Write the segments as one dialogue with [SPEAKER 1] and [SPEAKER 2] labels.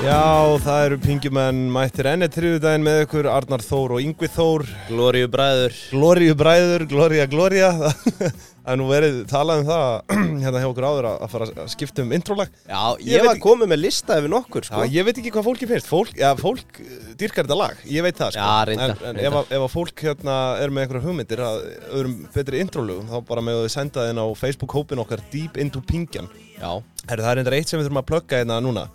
[SPEAKER 1] Já, það eru pingjumenn mættir enni triðudaginn með ykkur, Arnar Þór og Yngvi Þór
[SPEAKER 2] Glóriu bræður
[SPEAKER 1] Glóriu bræður, glória, glória Það er nú verið talað um það hérna hjá okkur áður að að fara að skipta um introlag
[SPEAKER 2] Já,
[SPEAKER 1] Ég
[SPEAKER 2] ég,
[SPEAKER 1] veit
[SPEAKER 2] var
[SPEAKER 1] ekki-
[SPEAKER 2] komið með lista yfir nokkur
[SPEAKER 1] Já,
[SPEAKER 2] sko.
[SPEAKER 1] ég veit ekki hvað fólki finnst, fólk, ja, fólk eh, dýrkar þetta lag, ég veit það sko.
[SPEAKER 2] Já, reyndar,
[SPEAKER 1] En, en
[SPEAKER 2] reyndar.
[SPEAKER 1] Ef, að- ef að fólk hérna er með einhverja hugmyndir að öðrum betri introlugum, þá bara með að senda þeim á Facebook-hópin okkar Deep Into Pingjan
[SPEAKER 2] Já,
[SPEAKER 1] Herru, það er reyndar eitt sem við þurfum að plugga hérna núna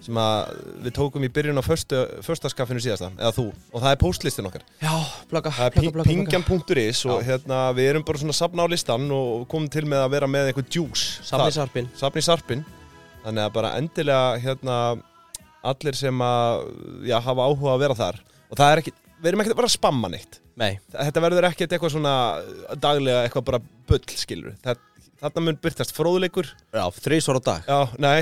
[SPEAKER 1] sem að við tókum í byrjun á förstu, förstaskaffinu síðasta, eða þú og það er postlistin okkar,
[SPEAKER 2] já, plaka,
[SPEAKER 1] það er pingjan.is og hérna við erum bara svona að safna á listan og komum til með að vera með einhver djús
[SPEAKER 2] Samlisarpin
[SPEAKER 1] safni sarpin þannig að bara endilega hérna allir sem að já, hafa áhuga að vera þar og það er ekki, við erum ekkert að bara að spamma neitt
[SPEAKER 2] Nei,
[SPEAKER 1] þetta verður ekkert eitthvað svona daglega eitthvað bara bull skilur þarna mun byrtast fróðleikur
[SPEAKER 2] já, þrísvar á dag
[SPEAKER 1] Já, nei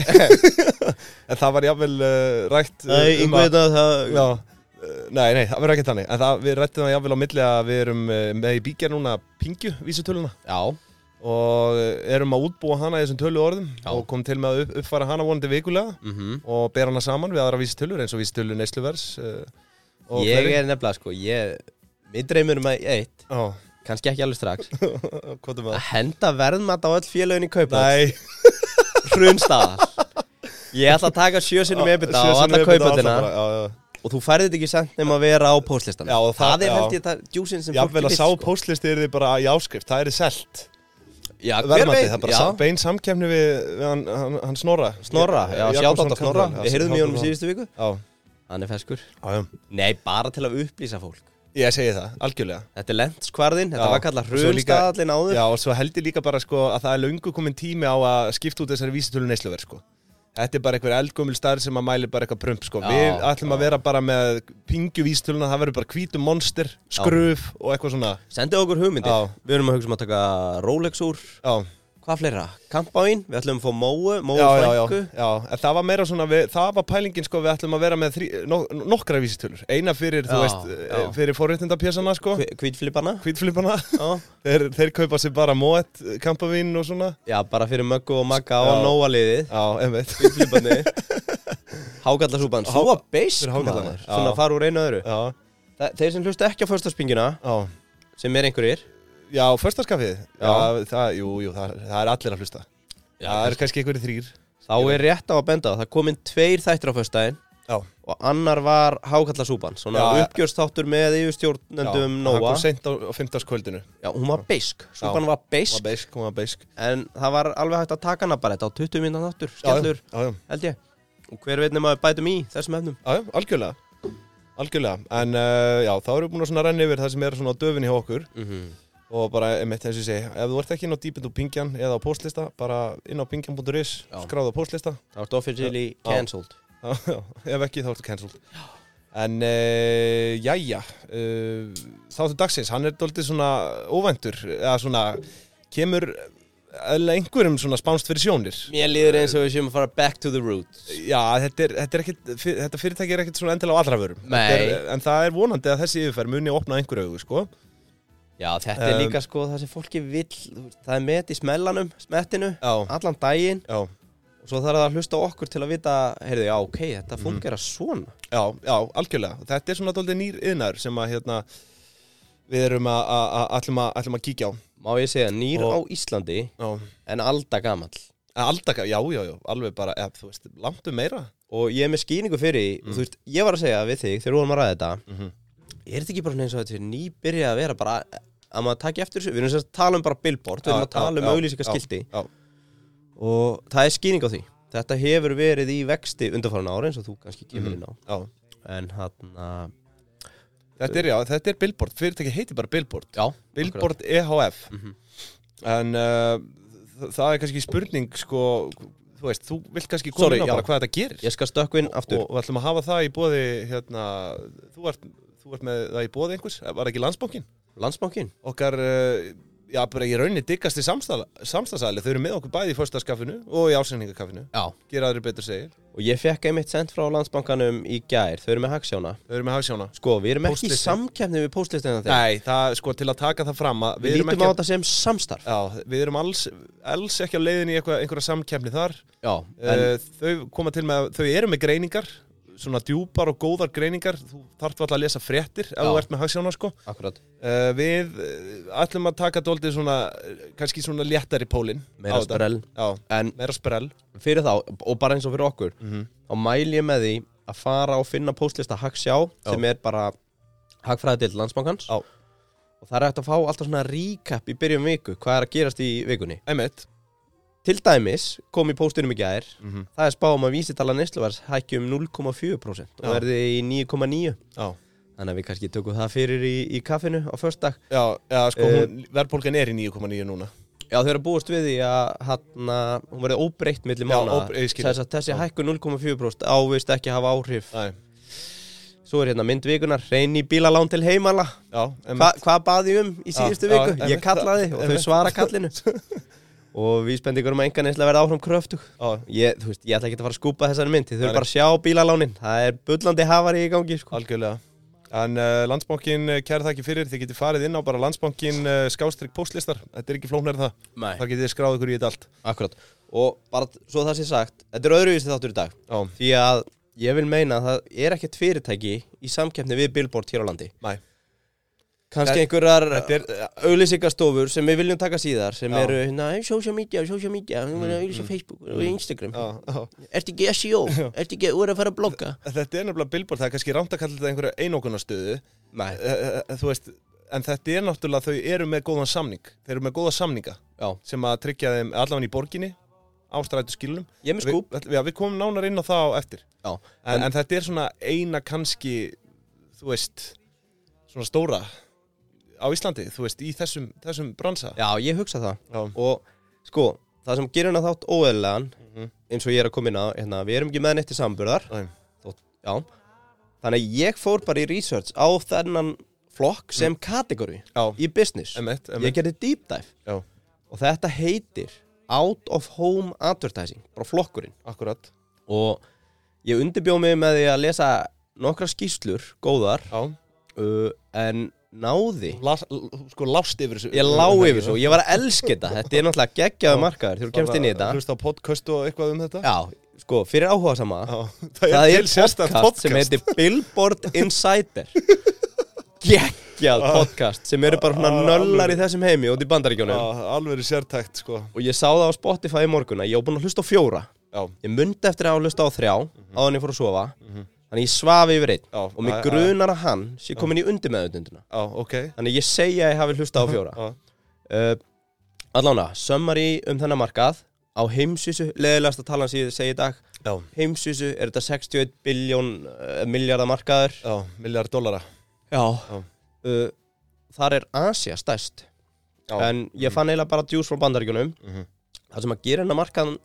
[SPEAKER 1] En það var jáfnvel uh, rætt uh, um að-
[SPEAKER 2] að það
[SPEAKER 1] Já, uh, nei, nei, það verður ekki þannig En það, við rættum það jáfnvel á milli að við erum uh, með í bíkja núna pingju vísutöluna
[SPEAKER 2] Já,
[SPEAKER 1] og uh, erum að útbúa hana í þessum tölu orðum
[SPEAKER 2] Já.
[SPEAKER 1] og kom til með að upp, uppfara hana vonandi vikulega
[SPEAKER 2] mhm
[SPEAKER 1] og bera hana saman við aðra vísutölur eins og vísutölu neysluvers uh, og
[SPEAKER 2] Ég
[SPEAKER 1] fleiri.
[SPEAKER 2] er nefnilega, sko, ég Mér dreymir um að eitt,
[SPEAKER 1] Já,
[SPEAKER 2] kannski ekki alveg strax
[SPEAKER 1] hvað er
[SPEAKER 2] Að
[SPEAKER 1] það?
[SPEAKER 2] henda verðmat á öll félögin í kaupa
[SPEAKER 1] Nei,
[SPEAKER 2] Hrunstaðar Ég ætla að taka sjö sinum ebita á
[SPEAKER 1] Sjö sinnum EBITDA
[SPEAKER 2] alla
[SPEAKER 1] á alla
[SPEAKER 2] kaupatina
[SPEAKER 1] bara, Já, já
[SPEAKER 2] Og þú færði þetta ekki sent nema að vera á póstlistan
[SPEAKER 1] Já, og það-
[SPEAKER 2] það er
[SPEAKER 1] já.
[SPEAKER 2] held ég það djúsin sem
[SPEAKER 1] Jáfnvel að
[SPEAKER 2] vill,
[SPEAKER 1] sá
[SPEAKER 2] sko.
[SPEAKER 1] postlisti er þið bara í áskrift, það er þið selt
[SPEAKER 2] Já, hver
[SPEAKER 1] verðmæti,
[SPEAKER 2] veit,
[SPEAKER 1] það er bara
[SPEAKER 2] já.
[SPEAKER 1] sam, bein samkefni við, við hann, hann, hann Snorra
[SPEAKER 2] Snorra, já,
[SPEAKER 1] Jakobsson
[SPEAKER 2] sjátt átt Snorra
[SPEAKER 1] Kambal, já,
[SPEAKER 2] Við heyrðum í honum í
[SPEAKER 1] Jakobsson.
[SPEAKER 2] síðustu viku
[SPEAKER 1] Já,
[SPEAKER 2] Hann er feskur
[SPEAKER 1] já, já,
[SPEAKER 2] Nei, bara til að upplýsa fólk
[SPEAKER 1] ég segi það, algjörlega
[SPEAKER 2] Þetta er lendskvarðin, þetta
[SPEAKER 1] Já.
[SPEAKER 2] var kallað
[SPEAKER 1] Og svo líka-
[SPEAKER 2] hrunstaðallin áður
[SPEAKER 1] Já, og svo held ég líka bara sko að það er löngu komin tími á að skipta út þessari vísitölu neysluverð sko Þetta er bara einhver eldgumul starf sem að mæli bara eitthvað prump sko
[SPEAKER 2] Já,
[SPEAKER 1] Við ætlum að
[SPEAKER 2] já.
[SPEAKER 1] vera bara með pingju vísitöluna, það verður bara hvítum monster, skröf og eitthvað svona
[SPEAKER 2] Sendið okkur hugmyndir
[SPEAKER 1] Já.
[SPEAKER 2] Við erum að hugsa um að taka Rolex úr
[SPEAKER 1] Já,
[SPEAKER 2] Hvað fleira? Kampáin, við ætlum að fá Móu, Móu
[SPEAKER 1] já, já, já,
[SPEAKER 2] Frænku
[SPEAKER 1] já. En það var meira svona, við, það var pælingin sko, við ætlum að vera með þrí, no, nokkra vísitölur Eina fyrir, þú
[SPEAKER 2] Já,
[SPEAKER 1] veist,
[SPEAKER 2] já.
[SPEAKER 1] eh, fyrir forréttindapjasana sko
[SPEAKER 2] Hvi- Hvítflippana
[SPEAKER 1] hvítflipana
[SPEAKER 2] Já.
[SPEAKER 1] þeir, þeir kaupa sér bara móett, kampavín og svona
[SPEAKER 2] Já, bara fyrir Möggu og Magga
[SPEAKER 1] Já.
[SPEAKER 2] og Nóa liðið
[SPEAKER 1] Já, einmitt
[SPEAKER 2] Hvítflippani Hákallasúpan,
[SPEAKER 1] Há-
[SPEAKER 2] svo beisk
[SPEAKER 1] fyrir hákallarnar.
[SPEAKER 2] maður Svona
[SPEAKER 1] Já.
[SPEAKER 2] fara úr einu og öðru
[SPEAKER 1] Já,
[SPEAKER 2] Þa- Þeir sem hlusta ekki á föstaspingina,
[SPEAKER 1] já
[SPEAKER 2] sem er einhverjir
[SPEAKER 1] Já, förstaskafið Já, það, jú, jú, það, það er allir að hlusta
[SPEAKER 2] Já,
[SPEAKER 1] Það eru kannski einhverjir þrýr
[SPEAKER 2] Þá er rétt á að benda á, það komin tveir þættir á föstudaginn
[SPEAKER 1] Já,
[SPEAKER 2] og annar var Hákallasúpan, svona
[SPEAKER 1] Já, ja.
[SPEAKER 2] uppgjörstáttur með yfirstjórnendum
[SPEAKER 1] Hann
[SPEAKER 2] Nóa
[SPEAKER 1] kom seint á, á fimmtárskvöldinu
[SPEAKER 2] Já, hún var beisk, súpan var
[SPEAKER 1] Hún var
[SPEAKER 2] beisk
[SPEAKER 1] beisk, hún var beisk
[SPEAKER 2] en það var alveg hægt að taka hana bara þetta á 20 minna þáttur, skellur,
[SPEAKER 1] Já, já, já,
[SPEAKER 2] held ég og hver veit nema við bætum í þessum efnum
[SPEAKER 1] já, já algjörlega Algjörlega, en uh, já, þá erum við búin að svona renna yfir það sem er svona á döfinni hjá okkur
[SPEAKER 2] Mhm.
[SPEAKER 1] og bara, einmitt, eins og ég segi, ef þú ert ekki inn á dýpind og pingjan eða á postlista, bara inn á pingjan.is,
[SPEAKER 2] Já.
[SPEAKER 1] skráðu á postlista
[SPEAKER 2] Það var officially
[SPEAKER 1] Já.
[SPEAKER 2] cancelled
[SPEAKER 1] Já, já, ef ekki þá ertu cancelled En, uh, jæja, uh, þáttu dagsins, hann er doldið svona óvæntur, eða svona, kemur eðlilega einhverjum svona spánst fyrir sjónir.
[SPEAKER 2] Mér líður eins og við séum að fara back to the roots
[SPEAKER 1] Já, þetta, er, þetta, er ekkit, fyr- þetta fyrirtæki er ekkit svona endilega á allra vörum.
[SPEAKER 2] Nei.
[SPEAKER 1] Þetta Er, en það er vonandi að þessi yfirferð muni opna einhverju augu, sko.
[SPEAKER 2] Já, þetta er
[SPEAKER 1] Um,
[SPEAKER 2] líka sko það sem fólki vill þú veist, það er met í smellanum, smettinu
[SPEAKER 1] Já,
[SPEAKER 2] allan daginn
[SPEAKER 1] já,
[SPEAKER 2] og svo þarf það að hlusta á okkur til að vita heyrðu, já, ok, þetta fólk er að svona
[SPEAKER 1] já, já, algjörlega. Þetta er svona doldið nýr yðnar sem að, hérna, við erum að, að, að, ætlum að, ætlum að kíkja á.
[SPEAKER 2] Má ég segja, nýr
[SPEAKER 1] Og-
[SPEAKER 2] á Íslandi
[SPEAKER 1] Já.
[SPEAKER 2] en alda gamall
[SPEAKER 1] Aldaka, já, já, já, alveg bara, eða, þú veist, langt um meira.
[SPEAKER 2] og ég er með skýningu fyrir því,
[SPEAKER 1] Mm.
[SPEAKER 2] og þú veist, ég var að segja við þig þegar við vorum að ræða þetta
[SPEAKER 1] Mhm.
[SPEAKER 2] er þetta ekki bara svona eins og þetta er nýbyrjað að vera bara að maður taki eftir þessu, við erum sem sagt að tala um bara billboard, við erum að tala um auglýsingaskilti
[SPEAKER 1] Já,
[SPEAKER 2] og það er skýning á því þetta hefur verið í vexti undanfæran ára eins og þú kannski kemur inn á
[SPEAKER 1] já, já.
[SPEAKER 2] en hann að
[SPEAKER 1] Þetta er, já, þetta er Billboard, fyrirtæki heiti bara Billboard
[SPEAKER 2] já, akkurat. Mhm.
[SPEAKER 1] Billboard EHF En uh, þ- það er kannski spurning, sko, þú veist, þú vilt kannski koma
[SPEAKER 2] Sorry,
[SPEAKER 1] inn á bara
[SPEAKER 2] já.
[SPEAKER 1] hvað þetta gerir
[SPEAKER 2] ég skal stökkva inn aftur
[SPEAKER 1] Og við ætlum að hafa það í bóði, hérna, þú ert, þú ert með það í bóði einhvers, var það ekki landsbankin?
[SPEAKER 2] landsbankin,
[SPEAKER 1] Okkar, uh, já, bara ég raunni diggasti samstagsæli, þau eru með okkur bæði í fyrstaskaffinu og í ásendingakaffinu
[SPEAKER 2] já
[SPEAKER 1] Gera aðri betur segir,
[SPEAKER 2] og ég fekk einmitt sent frá landsbankanum í gær, þau eru með hagsjána
[SPEAKER 1] þau eru með hagsjóna
[SPEAKER 2] sko, við erum ekki í
[SPEAKER 1] Póstlisti.
[SPEAKER 2] samkefni við póstlistina þegar
[SPEAKER 1] Nei, það, sko, til að taka það fram að
[SPEAKER 2] við lítum
[SPEAKER 1] ekki
[SPEAKER 2] á
[SPEAKER 1] að-
[SPEAKER 2] þetta sem samstarf
[SPEAKER 1] Já, við erum alls, alls ekki á leiðin í eitthvað, einhverja samkeppni þar. Eh,
[SPEAKER 2] já, en
[SPEAKER 1] En, þau koma til með að þau eru með greiningar svona djúpar og góðar greiningar þú þarft alltaf að lesa fréttir ef
[SPEAKER 2] Já.
[SPEAKER 1] þú ert með hagsjána sko
[SPEAKER 2] akkurat
[SPEAKER 1] uh, við uh, ætlum að taka dóltið svona eh, kannski svona léttari pólinn á
[SPEAKER 2] Meira
[SPEAKER 1] þetta.
[SPEAKER 2] sprell.
[SPEAKER 1] Já,
[SPEAKER 2] En
[SPEAKER 1] meira sprell
[SPEAKER 2] fyrir þá, og bara eins og fyrir okkur þá mæl ég með því að fara og finna postlista Hagsjá sem er bara hagfræðið til landsbankans
[SPEAKER 1] Já.
[SPEAKER 2] og það er hægt að fá alltaf svona recap í byrjun viku, hvað er að gerast í vikunni
[SPEAKER 1] einmitt
[SPEAKER 2] Til dæmis kom í postinum í gær
[SPEAKER 1] Mhm.
[SPEAKER 2] það er spáum að vísitala neysluverðs hækki um 0,4% og
[SPEAKER 1] Já.
[SPEAKER 2] verði í 9,9
[SPEAKER 1] Já,
[SPEAKER 2] þannig að við kannski tökum það fyrir í, í kaffinu á föstudag
[SPEAKER 1] já, já sko
[SPEAKER 2] Eh,
[SPEAKER 1] hún, verðbólgan er í 9,9 núna
[SPEAKER 2] Já, þeir eru að búast við því að hana, hún verði óbreytt milli
[SPEAKER 1] Já,
[SPEAKER 2] mánaða.
[SPEAKER 1] óbre- ég skil.
[SPEAKER 2] Þess að þessi hækkun 0,4% ávist ekki hafa áhrif
[SPEAKER 1] Æ,
[SPEAKER 2] Svo er hérna myndvikunar, reyni bílalán til heimala
[SPEAKER 1] Já,
[SPEAKER 2] Hva,
[SPEAKER 1] einmitt
[SPEAKER 2] Hvað baði um í
[SPEAKER 1] Já,
[SPEAKER 2] síðustu
[SPEAKER 1] já,
[SPEAKER 2] viku?
[SPEAKER 1] einmitt,
[SPEAKER 2] Ég kallaði og
[SPEAKER 1] einmitt.
[SPEAKER 2] þau svara kallinu Og við spendingur um að engan eins að verða áfram kröftug
[SPEAKER 1] Já,
[SPEAKER 2] ég, þú veist, ég ætla ekki að fara að skúpa þessari mynd Þau
[SPEAKER 1] Nei.
[SPEAKER 2] eru bara að sjá bílalánin Það er bullandi hafari í gangi sko.
[SPEAKER 1] algjörlega En uh, landsbankin, kæra það ekki fyrir, þið getið farið inn á bara landsbankin uh, skástrygg postlistar, þetta er ekki flóknar það,
[SPEAKER 2] Nei,
[SPEAKER 1] þar getið þið skráð ykkur í þetta allt.
[SPEAKER 2] akkurat Og bara svo það sé sagt Þetta er öðruvísi þáttur í dag
[SPEAKER 1] Já,
[SPEAKER 2] Því að ég vil meina að það er ekkert fyrirtæki í samkeppni við Billboard hér á landi.
[SPEAKER 1] næ,
[SPEAKER 2] Kanski einhverjar auðlýsingastofur sem við viljum taka síðar sem
[SPEAKER 1] Já.
[SPEAKER 2] eru hérna, "Hey, social media, social media, við viljum auðlýsa Facebook og Instagram.
[SPEAKER 1] já, já.
[SPEAKER 2] Ertu ekki SEO? Ertu ekki, þú er að fara að blogga?
[SPEAKER 1] Þetta er nefnilega billboard, það er kannski rámt að kalla þetta einhverja einokunarstöðu, Eh,
[SPEAKER 2] Nei,
[SPEAKER 1] þú veist, en þetta er náttúrulega, þau eru með góðan samning, þeir eru með góða samninga
[SPEAKER 2] já.
[SPEAKER 1] sem að tryggja þeim allan í borginni, ástrætu skilunum.
[SPEAKER 2] Ég er með skúp.
[SPEAKER 1] Við, já, við komum nánar inn á það á eftir.
[SPEAKER 2] Já.
[SPEAKER 1] En, en, þetta er svona eina kannski, þú veist, svona stóra á Íslandi, þú veist, í þessum, þessum bransa.
[SPEAKER 2] Já, ég hugsa það.
[SPEAKER 1] Já.
[SPEAKER 2] Og sko, það sem gerir hennar þátt óeðlegan,
[SPEAKER 1] Mhm.
[SPEAKER 2] eins og ég er að koma inn á, hérna, við erum ekki með neitt til samburðar.
[SPEAKER 1] Æ,
[SPEAKER 2] Þótt, já. Þannig að ég fór bara í research á þennan flokk sem kategóri
[SPEAKER 1] já,
[SPEAKER 2] í business.
[SPEAKER 1] emmett,
[SPEAKER 2] Ég
[SPEAKER 1] emmett.
[SPEAKER 2] gerði deep dive
[SPEAKER 1] Já,
[SPEAKER 2] og þetta heitir Out of Home Advertising, bara flokkurinn
[SPEAKER 1] akkurat.
[SPEAKER 2] og ég undirbjóð mig með því að lesa nokkra skýslur, góðar
[SPEAKER 1] Já,
[SPEAKER 2] uh, en náði
[SPEAKER 1] Las, sko lást yfir þessu.
[SPEAKER 2] ég lá yfir svo, ég var að elska þetta þetta er náttúrulega geggjaðu markaður þegar þú kemst inn í þetta
[SPEAKER 1] Hlusta á podcast og eitthvað um þetta.
[SPEAKER 2] já, sko, fyrir áhuga sama
[SPEAKER 1] Já,
[SPEAKER 2] það er
[SPEAKER 1] til sérstakt
[SPEAKER 2] podcast, sem heitir Billboard Insider geggjað podcast sem eru bara
[SPEAKER 1] Ah,
[SPEAKER 2] svona nöllar í þessum heimi út í bandaríkjónum
[SPEAKER 1] Já, alveg sértækt, sko.
[SPEAKER 2] og ég sá það á Spotify í morgun að ég var búinn að hlusta á fjóra
[SPEAKER 1] Já,
[SPEAKER 2] ég myndi eftir að hafa hlusta á þrjá áðan ég fór að sofa þannig ég svafi yfir einn
[SPEAKER 1] Mhm. Já,
[SPEAKER 2] og mig
[SPEAKER 1] að-
[SPEAKER 2] grunar að hann sé komin í undirmeðutunduna
[SPEAKER 1] já, ok.
[SPEAKER 2] þannig ég segja að ég hafi hlusta á fjóra
[SPEAKER 1] Já,
[SPEAKER 2] uh, allána, summary um þennan markað á heimsvísu, leðilegast að tala sem ég segi í dag
[SPEAKER 1] já,
[SPEAKER 2] heimsvísu er þetta 61 biljón uh, miljardar markaður
[SPEAKER 1] já, miljard dollara.
[SPEAKER 2] já
[SPEAKER 1] Já.
[SPEAKER 2] uh, þar er Asia stærst
[SPEAKER 1] Já.
[SPEAKER 2] en ég fann eiginlega bara djús frá bandaríkjunum
[SPEAKER 1] Mhm.
[SPEAKER 2] það sem að gera hennar markaðan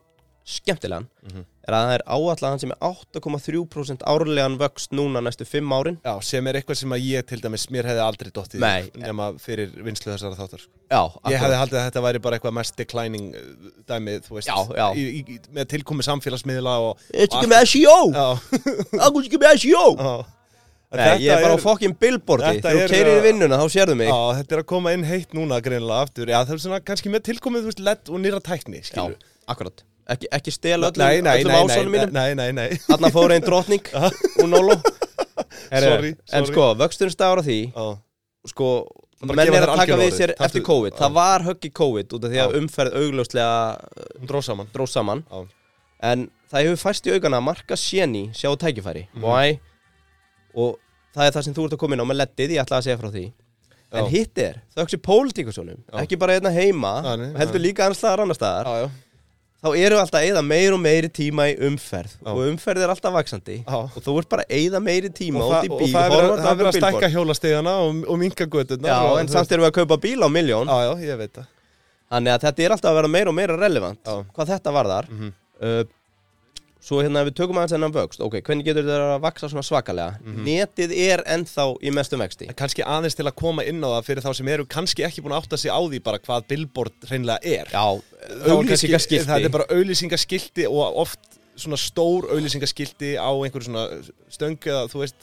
[SPEAKER 2] skemmtilegan
[SPEAKER 1] Mhm.
[SPEAKER 2] er að það er áallan sem er 8,3% árlegan vöxt núna næstu 5 árin
[SPEAKER 1] Já, sem er eitthvað sem að ég til dæmis, mér hefði aldrei dottið í
[SPEAKER 2] Nei.
[SPEAKER 1] hug nema fyrir vinslu þessara þáttar sko.
[SPEAKER 2] já,
[SPEAKER 1] Ég
[SPEAKER 2] akkurat.
[SPEAKER 1] hefði haldið að þetta væri bara eitthvað mest declining uh, dæmið, þú veist
[SPEAKER 2] Já, já.
[SPEAKER 1] Í, í, í- með tilkomi samfélagsmiðla og
[SPEAKER 2] Ertu ekki með E SEO?
[SPEAKER 1] Já,
[SPEAKER 2] Akkur ekki með E SEO?
[SPEAKER 1] já En
[SPEAKER 2] Nei, ég er bara á
[SPEAKER 1] já,
[SPEAKER 2] fokkin billboardi
[SPEAKER 1] Þetta
[SPEAKER 2] Þegar þú
[SPEAKER 1] er-
[SPEAKER 2] keirir í vinnuna þá sérðu mig
[SPEAKER 1] þetta er að koma inn heitt núna greinilega aftur Já, það er svona kannski með tilkomið, þú veist, lett og nýra tækni, skilur
[SPEAKER 2] akkurat Ekki, ekki stela öllum,
[SPEAKER 1] Nei, nei,
[SPEAKER 2] öllum
[SPEAKER 1] nei, nei,
[SPEAKER 2] ásánum
[SPEAKER 1] nei,
[SPEAKER 2] mínum
[SPEAKER 1] nei, nei, nei
[SPEAKER 2] Þarna fór einn drotning og nólu
[SPEAKER 1] Sorry,
[SPEAKER 2] En
[SPEAKER 1] sorry.
[SPEAKER 2] sko, vöxturinn stafar á því
[SPEAKER 1] Já,
[SPEAKER 2] Sko,
[SPEAKER 1] Það bara
[SPEAKER 2] menn
[SPEAKER 1] gefa
[SPEAKER 2] er
[SPEAKER 1] þér
[SPEAKER 2] að taka
[SPEAKER 1] algjör
[SPEAKER 2] við
[SPEAKER 1] orðið.
[SPEAKER 2] sér
[SPEAKER 1] Taktu-
[SPEAKER 2] eftir COVID Það var höggi COVID út af því að
[SPEAKER 1] Já.
[SPEAKER 2] umferð augljóslega
[SPEAKER 1] hún dróð saman
[SPEAKER 2] dró saman
[SPEAKER 1] Já.
[SPEAKER 2] En það hefur fæst í augana að marka séni sjá tækifæri
[SPEAKER 1] Mhm.
[SPEAKER 2] Why? Og það er það sem þú ert að koma inn á með leddið, ég ætla að segja frá því En
[SPEAKER 1] Já.
[SPEAKER 2] hitt er, þöggs í pólitíkusunum Ekki bara hérna heima,
[SPEAKER 1] Já, nei,
[SPEAKER 2] heldur líka annars staðar annar staðar
[SPEAKER 1] Já, já,
[SPEAKER 2] Þá eru alltaf að eyða meir og meiri tíma í umferð
[SPEAKER 1] Já.
[SPEAKER 2] Og umferð er alltaf vaksandi
[SPEAKER 1] Já.
[SPEAKER 2] Og þú ert bara að eyða meiri tíma
[SPEAKER 1] og,
[SPEAKER 2] út
[SPEAKER 1] það,
[SPEAKER 2] í
[SPEAKER 1] og
[SPEAKER 2] bíl
[SPEAKER 1] það er verið að-
[SPEAKER 2] horfandi
[SPEAKER 1] það er verið að
[SPEAKER 2] á billboard.
[SPEAKER 1] stækka hjólastegana og, og minka gödurna
[SPEAKER 2] Já, en samt erum við að kaupa bíl á miljón
[SPEAKER 1] Já, já, ég veit það
[SPEAKER 2] Þannig að þetta er alltaf að vera meira og meira relevant
[SPEAKER 1] Já.
[SPEAKER 2] Hvað þetta varðar uh, Svo hérna ef við tökum aðeins þennan vöxt Ok, hvernig getur þetta að vaksa svona svakalega Netið er ennþá í mestum vexti
[SPEAKER 1] En kannski aðeins til að koma inn á það fyrir þá sem eru kannski ekki búin að átta sig á því bara hvað billboard hreinlega er.
[SPEAKER 2] Já,
[SPEAKER 1] Þá er kannski-
[SPEAKER 2] auglýsingaskilti
[SPEAKER 1] Það er bara auglýsingaskilti og oft svona stór auglýsingaskilti á einhverju svona stöngu eða þú veist,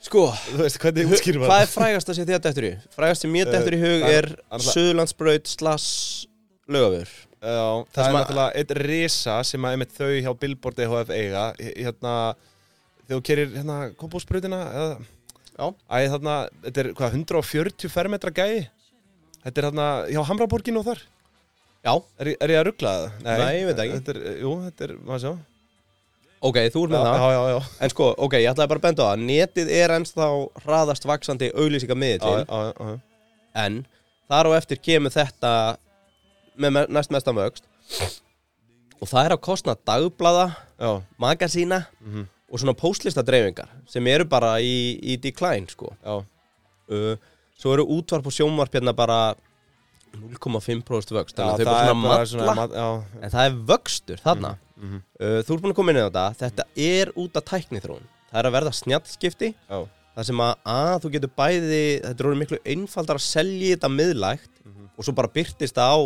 [SPEAKER 2] Sko,
[SPEAKER 1] þú veist hvernig útskýr maður.
[SPEAKER 2] hvað er frægast að sé þetta eftir í? Frægast sem ég
[SPEAKER 1] Eh,
[SPEAKER 2] eftir í hug
[SPEAKER 1] það-
[SPEAKER 2] er
[SPEAKER 1] annars-
[SPEAKER 2] Suðlandsbraut slass lögafur
[SPEAKER 1] Já, það
[SPEAKER 2] sem
[SPEAKER 1] er
[SPEAKER 2] að-
[SPEAKER 1] E náttúrulega eitt risa sem að einmitt þau hjá billboard EHF eiga, hérna, þau þegar þú kerir hérna kompósbrutina eða
[SPEAKER 2] Já.
[SPEAKER 1] Æ, þarna, þetta er hvað, 140 fermetra gæi Þetta er þarna, hjá Hamraborgin og þar
[SPEAKER 2] Já,
[SPEAKER 1] Er, ég- er ég að ruggla það?
[SPEAKER 2] Nei, ég veit það ekki.
[SPEAKER 1] Þetta er, jú, þetta er, maður sjá
[SPEAKER 2] ok, þú ert með það
[SPEAKER 1] Já, já, já,
[SPEAKER 2] En sko, ok, ég ætlaði bara að benda á það Netið er ennst þá hraðast vaksandi auglýsingamiðið
[SPEAKER 1] já,
[SPEAKER 2] til
[SPEAKER 1] já, já, já.
[SPEAKER 2] En þar á eftir kemur þetta með me- næst mestan vöxt Og það er að kostna dagblada,
[SPEAKER 1] já.
[SPEAKER 2] magasína
[SPEAKER 1] Mhm.
[SPEAKER 2] og svona postlistadreifingar sem eru bara í, í decline sko
[SPEAKER 1] já.
[SPEAKER 2] uh, Svo eru útvarp og sjónvarp hérna bara 0,5% vöxt
[SPEAKER 1] Já,
[SPEAKER 2] Þannig að þau bara svona matla
[SPEAKER 1] mat- já,
[SPEAKER 2] En það er vöxtur þarna uh, Þú ert búin að koma inn í þetta Þetta er út af tækniþróun Það er að verða snjallskipti
[SPEAKER 1] já,
[SPEAKER 2] Það sem að, að þú getur bæði Þetta er orðið miklu einfaldar að selja þetta miðlægt Og svo bara byrtist það á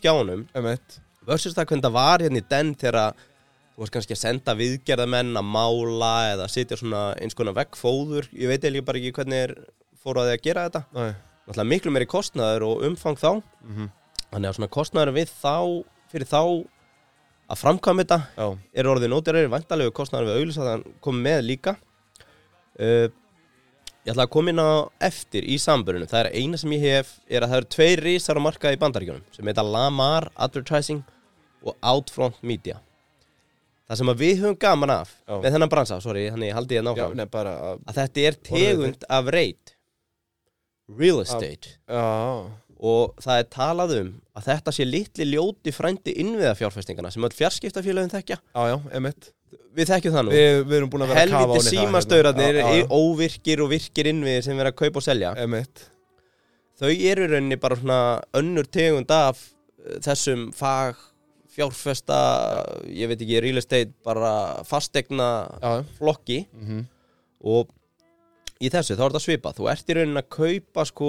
[SPEAKER 2] skjánum
[SPEAKER 1] um eitt
[SPEAKER 2] Versus það hvernig það var hérna í den Þegar að þú varst kannski að senda viðgerðamenn Að mála eða sitja svona Eins konar veggfóður Ég veit eiginlega bara ekki hvernig er fóraði að gera þetta
[SPEAKER 1] Næ,
[SPEAKER 2] náttúrulega miklu meiri kostnaður og umfang þá þannig að svona kostnaður við þá fyrir þá að framkvæma þetta
[SPEAKER 1] já,
[SPEAKER 2] er orðið nótirari vantalegu kostnaður við auðvitað að hann kom með líka uh, ég ætla að koma inn á eftir í samburinu það er eina sem ég hef er að það eru tveir risar á markaði í bandaríkjunum sem heita Lamar Advertising og Outfront Media það sem að við höfum gaman af
[SPEAKER 1] Já.
[SPEAKER 2] með þennan bransa, sorry, þannig ég haldi ég
[SPEAKER 1] já,
[SPEAKER 2] náfram
[SPEAKER 1] nei, bara að-
[SPEAKER 2] að þetta er tegund af reit real estate
[SPEAKER 1] Já,
[SPEAKER 2] og það er talað um að þetta sé litli ljóti frændi innviða fjárfestingana sem öll fjarskiptafélagin þekkja
[SPEAKER 1] já, já, um eitt
[SPEAKER 2] við þekkjum það nú
[SPEAKER 1] Við við erum búin að vera að kafa
[SPEAKER 2] helviti símastaurarnir óvirkir og virkir innviði sem vera að kaupa og selja
[SPEAKER 1] Um eitt,
[SPEAKER 2] þau eru í rauninni bara svona önnur tegund af eh, þessum fag fjárfesta, ég veit ekki real estate, bara fastegna
[SPEAKER 1] já, já
[SPEAKER 2] flokki
[SPEAKER 1] mhm.
[SPEAKER 2] og í þessu þá er þetta svipað þú ert í rauninni að kaupa sko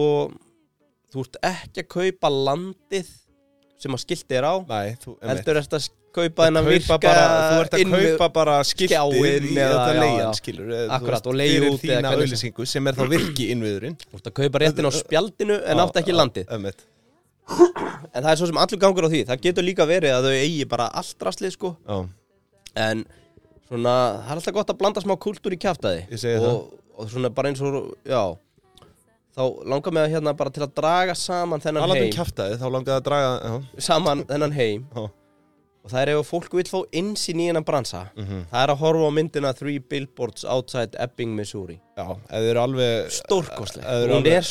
[SPEAKER 2] þú ert ekki að kaupa landið sem að skilti er á
[SPEAKER 1] Nei, þú, um eitt
[SPEAKER 2] heldur ert að s- kaupa þennan virka
[SPEAKER 1] bara, Þú ert að
[SPEAKER 2] innvi-
[SPEAKER 1] kaupa bara skiltið
[SPEAKER 2] skjáinn
[SPEAKER 1] í
[SPEAKER 2] eða-
[SPEAKER 1] þetta
[SPEAKER 2] já,
[SPEAKER 1] leiðan,
[SPEAKER 2] já.
[SPEAKER 1] skilur eða þú
[SPEAKER 2] Akkurat,
[SPEAKER 1] veist,
[SPEAKER 2] og leigja út
[SPEAKER 1] Fyrir
[SPEAKER 2] eða
[SPEAKER 1] þína
[SPEAKER 2] hvernig sem-
[SPEAKER 1] auðlýsingu sem er þá virki innviðurinn
[SPEAKER 2] þú ert að kaupa réttin á spjaldinu en átt ekki landið
[SPEAKER 1] Um eitt,
[SPEAKER 2] en það er svo sem allur gangur á því það getur líka verið að þau eigi bara allt rastlið sko
[SPEAKER 1] já,
[SPEAKER 2] en svona það er alltaf gott að blanda smá kultúr í kjaftaði
[SPEAKER 1] Ég segi
[SPEAKER 2] og, og svona bara eins og já þá langar mig að hérna bara til að draga saman þennan
[SPEAKER 1] alveg um
[SPEAKER 2] heim
[SPEAKER 1] kjaftaði Þá langaði að draga, já,
[SPEAKER 2] saman þennan heim
[SPEAKER 1] já,
[SPEAKER 2] og það er ef fólk vil fá innsýn í hennan bransa
[SPEAKER 1] mhm,
[SPEAKER 2] það er að horfa á myndina Three Billboards Outside Ebbing, Missouri
[SPEAKER 1] já Ef þið eru alveg,
[SPEAKER 2] stórkostleg,
[SPEAKER 1] Það er
[SPEAKER 2] hún
[SPEAKER 1] alveg-
[SPEAKER 2] er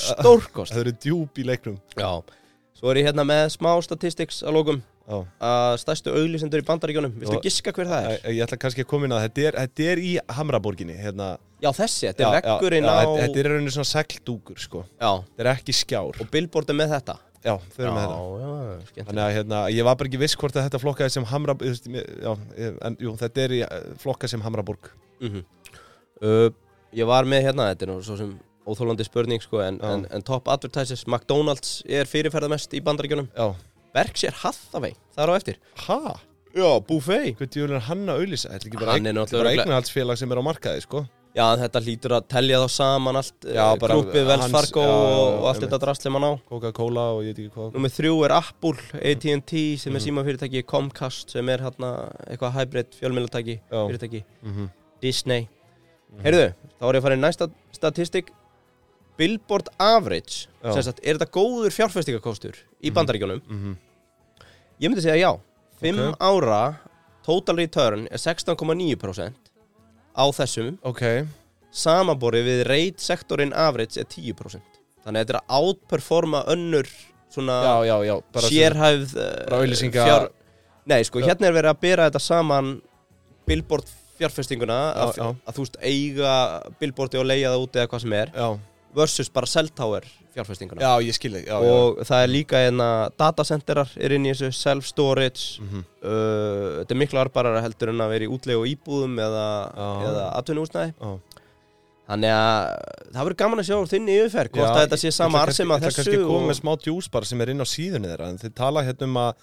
[SPEAKER 1] ef
[SPEAKER 2] stórkostleg
[SPEAKER 1] þið eru djúb í leiknum
[SPEAKER 2] já, svo er ég hérna með smá statistics að lókum
[SPEAKER 1] Já
[SPEAKER 2] að stærstu auglýsendur í bandaríkjónum viltu
[SPEAKER 1] Já.
[SPEAKER 2] giska hver það er?
[SPEAKER 1] Ég, ég ætla kannski að koma inn að þetta er, þetta er í Hamraborginni hérna,
[SPEAKER 2] já, þessi, þetta er veggurinn
[SPEAKER 1] já,
[SPEAKER 2] á
[SPEAKER 1] þetta- Þetta er í rauninu svona segldúkur sko.
[SPEAKER 2] já,
[SPEAKER 1] Þetta er ekki skjár
[SPEAKER 2] og Billboard er með þetta
[SPEAKER 1] Já, þau eru með þetta
[SPEAKER 2] já, skemmt
[SPEAKER 1] Þannig að hérna, ég var bara ekki viss hvort að þetta flokkaði sem Hamra þú veist, mér- Já, ég- en jú, þetta er í eh, flokka sem Hamraborg
[SPEAKER 2] mm uh, ég var með hérna þetta er nú svo sem óþólandi spurning sko, en,
[SPEAKER 1] Já.
[SPEAKER 2] en, en top advertisers, McDonalds er fyrirferðamest í bandaríkjónum
[SPEAKER 1] Já,
[SPEAKER 2] Berkshire Hathaway, það er á eftir
[SPEAKER 1] ha?
[SPEAKER 2] já, Buffet
[SPEAKER 1] Hvernig djúlun er hann að auðlýsa? Þetta er ekki bara,
[SPEAKER 2] Hann er
[SPEAKER 1] eign,
[SPEAKER 2] náttúrulega
[SPEAKER 1] þetta er bara
[SPEAKER 2] örugglega-
[SPEAKER 1] eignahaldsfélag sem er á markaði, sko
[SPEAKER 2] Já, þetta hlýtur að telja þá saman allt
[SPEAKER 1] Já,
[SPEAKER 2] eh,
[SPEAKER 1] bara
[SPEAKER 2] Grúpið Wells
[SPEAKER 1] hans-
[SPEAKER 2] Fargo
[SPEAKER 1] já, já, já,
[SPEAKER 2] og allt
[SPEAKER 1] einmitt.
[SPEAKER 2] þetta drast sem hann á
[SPEAKER 1] Coca-Cola og ég veit ekki hvað
[SPEAKER 2] Númer þrjú er Apple, AT&T sem
[SPEAKER 1] Mhm.
[SPEAKER 2] er símafyrirtæki Comcast sem er hérna eitthvað hybrid fjölmiðlatæki
[SPEAKER 1] Já.
[SPEAKER 2] fyrirtæki
[SPEAKER 1] mm -hmm.
[SPEAKER 2] Disney
[SPEAKER 1] Mhm.
[SPEAKER 2] Heyrðu, þá er ég að fara í næsta statistik Billboard Average
[SPEAKER 1] Já.
[SPEAKER 2] sem sagt, er þetta góður fjárfestingakostur í bandaríkjónum?
[SPEAKER 1] Mm -hmm.
[SPEAKER 2] Ég myndi segja já 5 ára total return er 16,9% á þessum
[SPEAKER 1] Ok,
[SPEAKER 2] samanborið við rate sektorinn average er 10% þannig að þetta er að outperforma önnur svona
[SPEAKER 1] já, já, já bara sem-
[SPEAKER 2] sérhæfð eh,
[SPEAKER 1] bara auglýsinga-
[SPEAKER 2] nei sko
[SPEAKER 1] Já.
[SPEAKER 2] hérna er verið að bera þetta saman billboard fjárfestinguna
[SPEAKER 1] Já,
[SPEAKER 2] að,
[SPEAKER 1] já.
[SPEAKER 2] að þú veist eiga billboardi og leiða það út eða hvað sem er
[SPEAKER 1] Já,
[SPEAKER 2] versus bara seltáir fjárfestinguna
[SPEAKER 1] já, ég skil þig já, já.
[SPEAKER 2] og það er líka en að datacenterar er inn í þessu self-storage
[SPEAKER 1] Mhm.
[SPEAKER 2] uh, þetta er miklu arbarara heldur en að vera í útlegu og íbúðum eða,
[SPEAKER 1] Já.
[SPEAKER 2] eða atvinnuhúsnæði
[SPEAKER 1] Já.
[SPEAKER 2] Þannig að það verður gaman að sjá þinni yfirferð hvort
[SPEAKER 1] Já,
[SPEAKER 2] að þetta
[SPEAKER 1] ég-
[SPEAKER 2] sé
[SPEAKER 1] ég
[SPEAKER 2] sama
[SPEAKER 1] ætla
[SPEAKER 2] arsema
[SPEAKER 1] kannski- Ég ætla
[SPEAKER 2] þessu
[SPEAKER 1] kannski að koma
[SPEAKER 2] og-
[SPEAKER 1] með smá djús bara sem er inn á síðunni þeirra en þeir tala hérna um að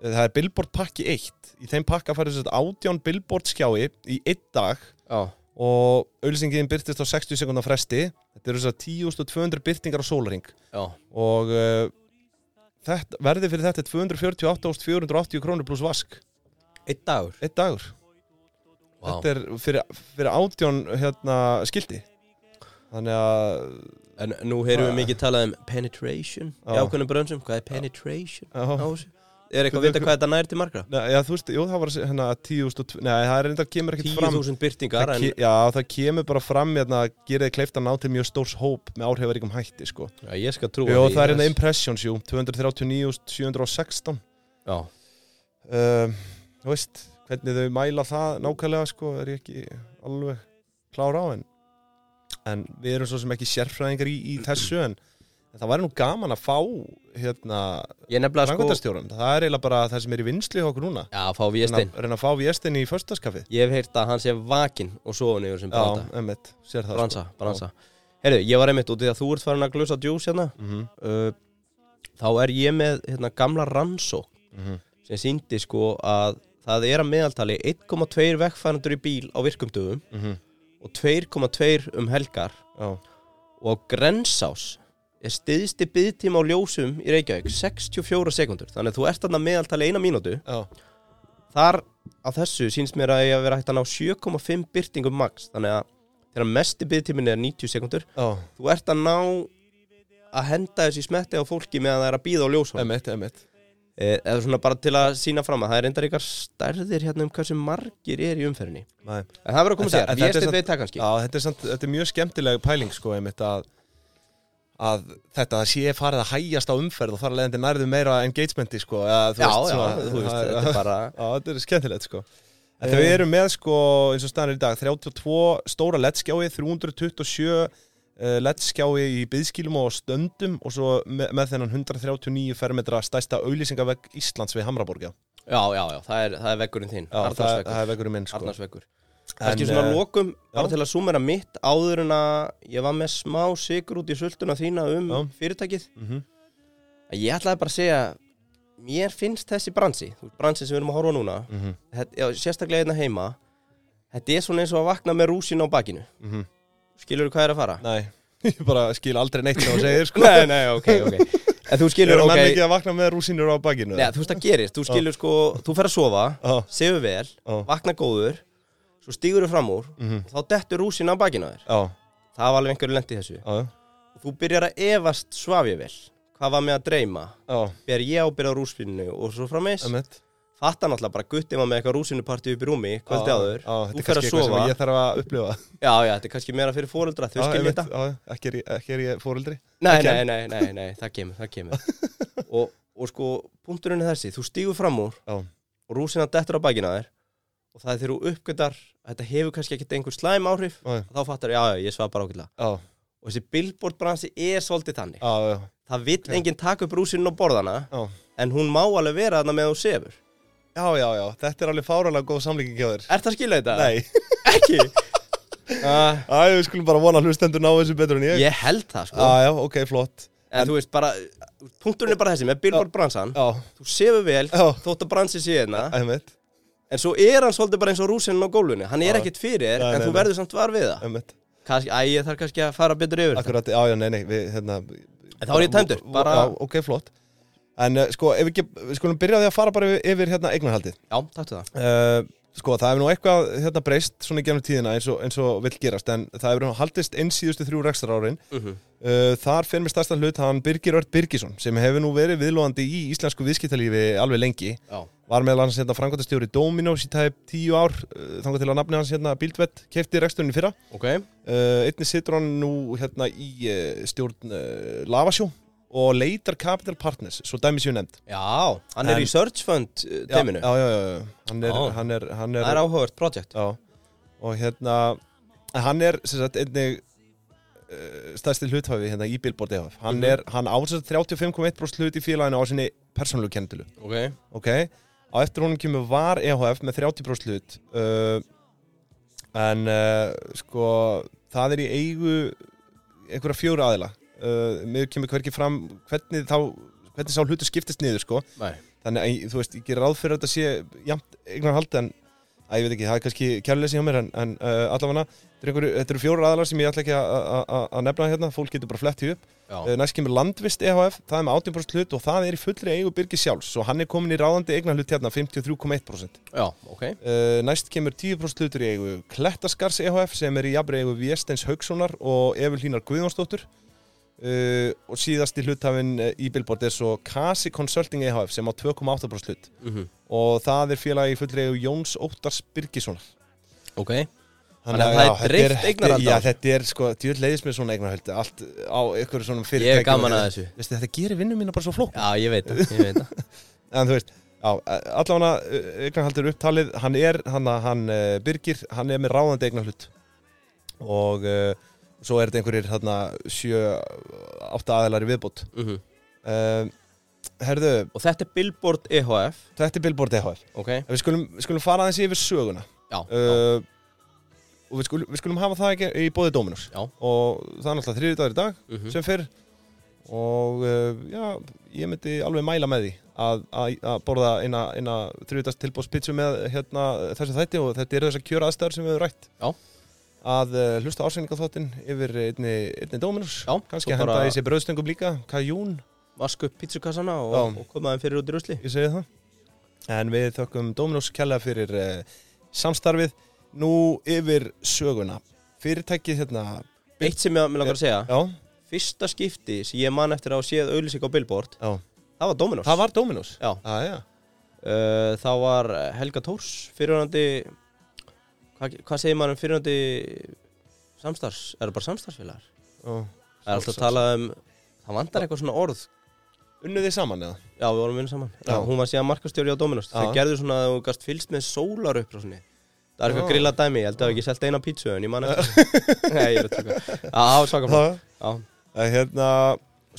[SPEAKER 1] e, það er Billboard pakki 1 í þeim pakka farið þess að átján Billboard skjái í einn dag
[SPEAKER 2] Já,
[SPEAKER 1] og auðlýsingin byrtist á 60 sekundar fresti þetta eru þess að 10.200 byrtingar á sólring
[SPEAKER 2] já,
[SPEAKER 1] og uh, þetta, verði fyrir þetta er 248.480 krónur pluss vask
[SPEAKER 2] einn dagur
[SPEAKER 1] einn dagur
[SPEAKER 2] Vá.
[SPEAKER 1] Þetta er fyrir, fyrir átjón hérna, skildi Þannig að
[SPEAKER 2] En nú heyrum við
[SPEAKER 1] Ah.
[SPEAKER 2] mikið talað um penetration í
[SPEAKER 1] Já.
[SPEAKER 2] ákveðnum brönsum, hvað er penetration
[SPEAKER 1] já,
[SPEAKER 2] á þessu? Er eitthvað að
[SPEAKER 1] Veitu
[SPEAKER 2] vita hvað þetta nær til margra?
[SPEAKER 1] Nei, já, þú veist, jú, það var hérna 10.000 Nei, það er reyndar kemur ekkert fram
[SPEAKER 2] 10.000 byrtingar
[SPEAKER 1] það
[SPEAKER 2] en,
[SPEAKER 1] ke, Já, það kemur bara fram hérna, gerir þið kleift að ná til mjög stórs hóp með áhrifaríkum hætti, sko
[SPEAKER 2] já, ég skal trúa
[SPEAKER 1] Jó,
[SPEAKER 2] því,
[SPEAKER 1] það er
[SPEAKER 2] yes.
[SPEAKER 1] hérna impressions, jú 239.716
[SPEAKER 2] Já,
[SPEAKER 1] um, Þú veist, hvernig þau mæla það nákvæmlega, sko, er ég ekki alveg klára á en en við erum svo sem ekki sérfræðingar í, í þessu en, en það væri nú gaman að fá hérna,
[SPEAKER 2] ég nefnilega sko
[SPEAKER 1] frangöndastjórum það er eiginlega bara það sem er í vinslu hjá okkur núna
[SPEAKER 2] Já, fá
[SPEAKER 1] reyna,
[SPEAKER 2] Véstein
[SPEAKER 1] reyna að fá Viestin í förstaskafið
[SPEAKER 2] Ég hef heyrt að hann sé vakin og sofa niður sem
[SPEAKER 1] Já,
[SPEAKER 2] branda
[SPEAKER 1] emmitt, sér það sko.
[SPEAKER 2] Bransa, bransa Herru, ég var einmitt út í að þú ert farin að glösa djús hérna
[SPEAKER 1] sko. Mhm,
[SPEAKER 2] uh, Þá er ég með hérna, gamla rannsó
[SPEAKER 1] mhm.
[SPEAKER 2] sem síndi sko að það er að meðaltali 1,2 vegfærandur í bíl á virkumdöfum
[SPEAKER 1] Mhm,
[SPEAKER 2] og 2,2 um helgar
[SPEAKER 1] Já,
[SPEAKER 2] og á Grensás er stiðsti byggtíma á ljósum í Reykjavík 64 sekundur, þannig að þú ert þarna meðaltali eina mínútu,
[SPEAKER 1] já,
[SPEAKER 2] þar á þessu sínst mér að ég að vera hægt að ná 7,5 byrtingum max, þannig að þegar mesti byggtímin er 90 sekundur,
[SPEAKER 1] já,
[SPEAKER 2] þú ert að ná að henda þessi smetti á fólki meðan það er að býða á ljósum
[SPEAKER 1] emmitt, emmitt
[SPEAKER 2] Eh, eða svona bara til að sína fram að það er reyndar ykkar stærðir hérna um hversu margir er í umferðinni
[SPEAKER 1] Nei.
[SPEAKER 2] en það verður að koma
[SPEAKER 1] En það-
[SPEAKER 2] sér,
[SPEAKER 1] en
[SPEAKER 2] ég
[SPEAKER 1] þetta er
[SPEAKER 2] stið
[SPEAKER 1] samt-
[SPEAKER 2] veit það kannski
[SPEAKER 1] Já, þetta er, samt, þetta er mjög skemmtilega pæling sko, einmitt að að þetta að sé farið að hægjast á umferð og þar að leiðandi nærðu meira engagementi sko, eða, þú
[SPEAKER 2] já,
[SPEAKER 1] veist,
[SPEAKER 2] já,
[SPEAKER 1] svona-
[SPEAKER 2] þú veist,
[SPEAKER 1] það-
[SPEAKER 2] þetta er bara
[SPEAKER 1] Já, þetta er skemmtilegt sko
[SPEAKER 2] Eh.
[SPEAKER 1] Þetta við erum með sko, eins og staðan er í dag 32 stóra lettskjái, 327 uh, lettskjái í byðskilum og stöndum og svo með, með þennan 139 fermetra stærsta auðlýsingavegg Íslands við Hamraborga
[SPEAKER 2] já, já, já, það er, það er vekkurinn þinn,
[SPEAKER 1] Já, það, er-
[SPEAKER 2] Arnarsvekkur
[SPEAKER 1] það er vegurinn minn sko
[SPEAKER 2] Arnarsvekkur
[SPEAKER 1] En,
[SPEAKER 2] kannski svona
[SPEAKER 1] eh,
[SPEAKER 2] lokum, bara
[SPEAKER 1] já.
[SPEAKER 2] til að súmera mitt áður en að ég var með smá sigur út í sultuna þína um
[SPEAKER 1] Já.
[SPEAKER 2] fyrirtækið
[SPEAKER 1] mhm,
[SPEAKER 2] að ég ætlaði bara að segja mér finnst þessi bransi, þú veist, bransi sem við erum að horfa á núna
[SPEAKER 1] mhm,
[SPEAKER 2] þetta, já, sérstaklega einna heima þetta er svona eins og að vakna með rúsin á bakinu
[SPEAKER 1] mhm.
[SPEAKER 2] skilur hvað er að fara?
[SPEAKER 1] Nei, ég bara skil aldrei neitt sem þú segir sko
[SPEAKER 2] Nei, nei, ok, ok En þú skilur,
[SPEAKER 1] Eru menn
[SPEAKER 2] ok
[SPEAKER 1] ekki að vakna með rúsinur á bakinu?
[SPEAKER 2] Nei, þú veist það gerist, þú skilur sko Þú fer að sofa,
[SPEAKER 1] Ó,
[SPEAKER 2] sefur vel
[SPEAKER 1] ó,
[SPEAKER 2] Vakna góður, svo stígur þú fram úr
[SPEAKER 1] mhm,
[SPEAKER 2] og Þá dettur rúsin á bakinu á þér
[SPEAKER 1] á,
[SPEAKER 2] Það var alveg einhverju lent í þessu
[SPEAKER 1] á,
[SPEAKER 2] Þú byrjar að efast svaf ég vel Hvað var með að dreyma?
[SPEAKER 1] á,
[SPEAKER 2] Ber ég ábyrð á rúsfinnu og svo frammeins
[SPEAKER 1] emmitt
[SPEAKER 2] Fatta náttúrulega bara guttið maður með eitthvað rúsinupartí upp í rúmi Kvöldi
[SPEAKER 1] Á,
[SPEAKER 2] áður,
[SPEAKER 1] á, Ah, Þetta
[SPEAKER 2] þú
[SPEAKER 1] er
[SPEAKER 2] fer
[SPEAKER 1] kannski
[SPEAKER 2] að
[SPEAKER 1] eitthvað
[SPEAKER 2] sofa
[SPEAKER 1] sem ég þarf að upplifa
[SPEAKER 2] Já, já, þetta er kannski meira fyrir fóreldra Þau
[SPEAKER 1] Já,
[SPEAKER 2] skilja
[SPEAKER 1] einmitt,
[SPEAKER 2] þetta
[SPEAKER 1] já, ekki, er ég, ekki er ég fóreldri
[SPEAKER 2] Nei,
[SPEAKER 1] Það
[SPEAKER 2] nei, nei, nei, nei, það kemur, það kemur og, og sko, punkturinn er þessi Þú stígur fram úr
[SPEAKER 1] Já.
[SPEAKER 2] og rúsina dettur á bakina á þér og það er þegar þú uppgötar að þetta hefur kannski ekkert einhver slæm áhrif
[SPEAKER 1] Nei.
[SPEAKER 2] og þá fattar, já, já, ég svaf bara ákveðlega
[SPEAKER 1] Já,
[SPEAKER 2] og þessi billboard bransi er svolítið þannig
[SPEAKER 1] já, já,
[SPEAKER 2] það vill enginn taka upp rúsinu á borðana
[SPEAKER 1] já
[SPEAKER 2] en hún má alveg vera þarna með þú sefur
[SPEAKER 1] Já, já, já, þetta er alveg fáralega góð samlíking hjá þér
[SPEAKER 2] Er það skilja þetta?
[SPEAKER 1] Nei,
[SPEAKER 2] Ekki uh,
[SPEAKER 1] Æ, við skulum bara vona að hlustendur ná þessu betur en ég
[SPEAKER 2] Ég held það, sko
[SPEAKER 1] Já, já, ok, flott
[SPEAKER 2] En Ah. þú veist bara, punkturinn er bara þessi með billboard bransan
[SPEAKER 1] Já,
[SPEAKER 2] þú sefur vel,
[SPEAKER 1] Já.
[SPEAKER 2] þótt að bransi sé hérna
[SPEAKER 1] einmitt,
[SPEAKER 2] En svo er hann svolítið bara eins og rúsinn á gólunni Hann er
[SPEAKER 1] Já.
[SPEAKER 2] ekkert fyrir þér,
[SPEAKER 1] Nei,
[SPEAKER 2] en
[SPEAKER 1] nei,
[SPEAKER 2] þú
[SPEAKER 1] nei.
[SPEAKER 2] verður samt var við það
[SPEAKER 1] einmitt
[SPEAKER 2] kannski, Æ, ég þarf kannski að fara betur yfir þetta
[SPEAKER 1] Akkurat, já, já, nei, nei, við, hérna
[SPEAKER 2] En þá er ég tæmdur, bara,
[SPEAKER 1] Já, ok, flott En eh, sko, ef ekki, við skulum byrja á því að fara bara yfir, yfir hérna eignarhaldið
[SPEAKER 2] já, taktu það
[SPEAKER 1] Eh, sko, það hefur nú eitthvað hérna breyst svona í genum tíðina eins og, eins og vill gerast en það hefur nú haldist inn síðustu þrjú rekstra árin
[SPEAKER 2] Mhm.
[SPEAKER 1] uh, Þar fyrir mér stærsta hlut hann Birgir Ört Birgisson sem hefur nú verið viðlóðandi í íslensku viðskiptalífi alveg lengi
[SPEAKER 2] Já,
[SPEAKER 1] var meðal hans hérna framkvæmtastjóri Dominos í tæp tíu ár uh, þangar til að nafni hans hérna Bíldvett kefti reksturinn í fyrra
[SPEAKER 2] ok,
[SPEAKER 1] uh, einnig situr hann nú hérna í uh, stjórn uh, Lavasjó og leitar Capital Partners svo dæmi séu nefnd
[SPEAKER 2] já, hann er
[SPEAKER 1] En-
[SPEAKER 2] í search fund uh,
[SPEAKER 1] Já,
[SPEAKER 2] teiminu
[SPEAKER 1] já, já, já, já. Hann, er,
[SPEAKER 2] Já.
[SPEAKER 1] hann, er, hann er
[SPEAKER 2] Það er áhugavert project
[SPEAKER 1] Já, og hérna en hann er sem sagt einnig uh, stærsti hluthafi hérna í Billboard EHF hann,
[SPEAKER 2] Mhm.
[SPEAKER 1] mm -hmm. hann ásett 35,1% hlut í félaginu á sinni persónulegu kendilu
[SPEAKER 2] Ok,
[SPEAKER 1] ok, á eftir honum kemur var EHF E með 30% hlut uh, en uh, sko það er í eigu einhverja fjóra aðila uh, miður kemur hverki fram hvernig þá hvernig sá hlutu skiptist niður sko
[SPEAKER 2] nei,
[SPEAKER 1] þannig að þú veist, ég ger ráð fyrir að þetta sé jæmt eignar hald en Æ, ég veit ekki, það er kannski kjærleysi hjá mér en, en uh, allavega, þetta eru einhverju- þetta eru fjórar aðalar sem ég ætla ekki að- að að- að nefna hérna, fólk getur bara flett því upp. Uh,
[SPEAKER 2] Já,
[SPEAKER 1] næst kemur Landvist EHF, það er með 18% hlut og það er í fullri eigu Birgis sjálfs og hann er komin í ráðandi eigna hlut hérna, 53,1%.
[SPEAKER 2] já ok
[SPEAKER 1] Uh, næst kemur 10% hlutur í eigu Klettaskars EHF sem er í jafnri eigu Vésteins Haugssonar og Evil Hínar Guðjónsdóttur uh, og síðasti hluthafinn eh, í Billboard er svo Kasi Consulting EHF sem á 2,8% hlut
[SPEAKER 2] mm
[SPEAKER 1] og það er félagi í fullri eigu Jóns Óttars Birgissonar
[SPEAKER 2] Ok, Þannig að það er dreift eignarhald
[SPEAKER 1] Já,
[SPEAKER 2] á þessu.
[SPEAKER 1] þetta er sko, djúið leiðis með svona eignarhald allt á ykkur svona fyrirtækjum
[SPEAKER 2] ég er gaman að þessu
[SPEAKER 1] Veistu, þetta gerir vinnu mína bara svo flók
[SPEAKER 2] Já, ég veit það, ég veit það
[SPEAKER 1] en þú veist Já, allan að eignarhaldur upptalið, hann er, hann, hann eh, Birgir, hann er með ráðandi eignarhlut og uh, svo er þetta einhverjir þarna sjö, átta aðelar í viðbót.
[SPEAKER 2] Mhm.
[SPEAKER 1] Uh, herðu,
[SPEAKER 2] Og þetta er Billboard E EHF
[SPEAKER 1] þetta er Billboard EHF.
[SPEAKER 2] Ok,
[SPEAKER 1] En Við skulum, við skulum fara aðeins yfir söguna
[SPEAKER 2] já, já,
[SPEAKER 1] uh, og við skulum, við skulum hafa það ekki í bóði Dominus
[SPEAKER 2] já.
[SPEAKER 1] og það er náttúrulega þriðið dagur í dag
[SPEAKER 2] mhm.
[SPEAKER 1] sem fyrr og uh, já, ég myndi alveg mæla með því að, að, að borða eina, eina þrjúðast tilbóðspitsu með hérna, þessu þætti og þetta eru þessar kjöra aðstæður sem við höfum rætt
[SPEAKER 2] Já.
[SPEAKER 1] að uh, hlusta ásynningaþóttin yfir einni, einni Dominus
[SPEAKER 2] Já,
[SPEAKER 1] kannski
[SPEAKER 2] svo
[SPEAKER 1] henda
[SPEAKER 2] bara-
[SPEAKER 1] í sig bröðstöngum líka kajún,
[SPEAKER 2] Vask upp pítsukassana og,
[SPEAKER 1] Já.
[SPEAKER 2] og koma þeim fyrir út í rusli
[SPEAKER 1] ég segi það en við þökkum Dominus kella fyrir uh, samstarfið nú yfir söguna fyrirtækið hérna
[SPEAKER 2] Eitt sem ég mér langar að segja
[SPEAKER 1] já,
[SPEAKER 2] Fyrsta skipti sem ég man eftir að hafa séð auðlýsing á Billboard
[SPEAKER 1] já,
[SPEAKER 2] Það var Dominos
[SPEAKER 1] það var Dominus
[SPEAKER 2] Já,
[SPEAKER 1] ah, já,
[SPEAKER 2] uh, þá var Helga Tórs fyrirhandi Hvað hvað segir maður um fyrirhandi Samstars, er það bara samstarsfélagar?
[SPEAKER 1] já.
[SPEAKER 2] Það er alltaf að tala um Það vantar eitthvað svona orð
[SPEAKER 1] unnu þið saman eða?
[SPEAKER 2] Já, við vorum vinna saman.
[SPEAKER 1] Já.
[SPEAKER 2] Já. Hún var síðan markastjóri á Dominos.
[SPEAKER 1] Já.
[SPEAKER 2] Þau gerðu svona að þú gast fylst með sólar upp frá svona. Það er eitthvað
[SPEAKER 1] Já.
[SPEAKER 2] grilla dæmi, ég held að það hef ekki selt eina pítsu en ég man eftir. þessu. Nei, ég er að tjóka. Já, það var svaka flott.
[SPEAKER 1] Það
[SPEAKER 2] Já,
[SPEAKER 1] að hérna,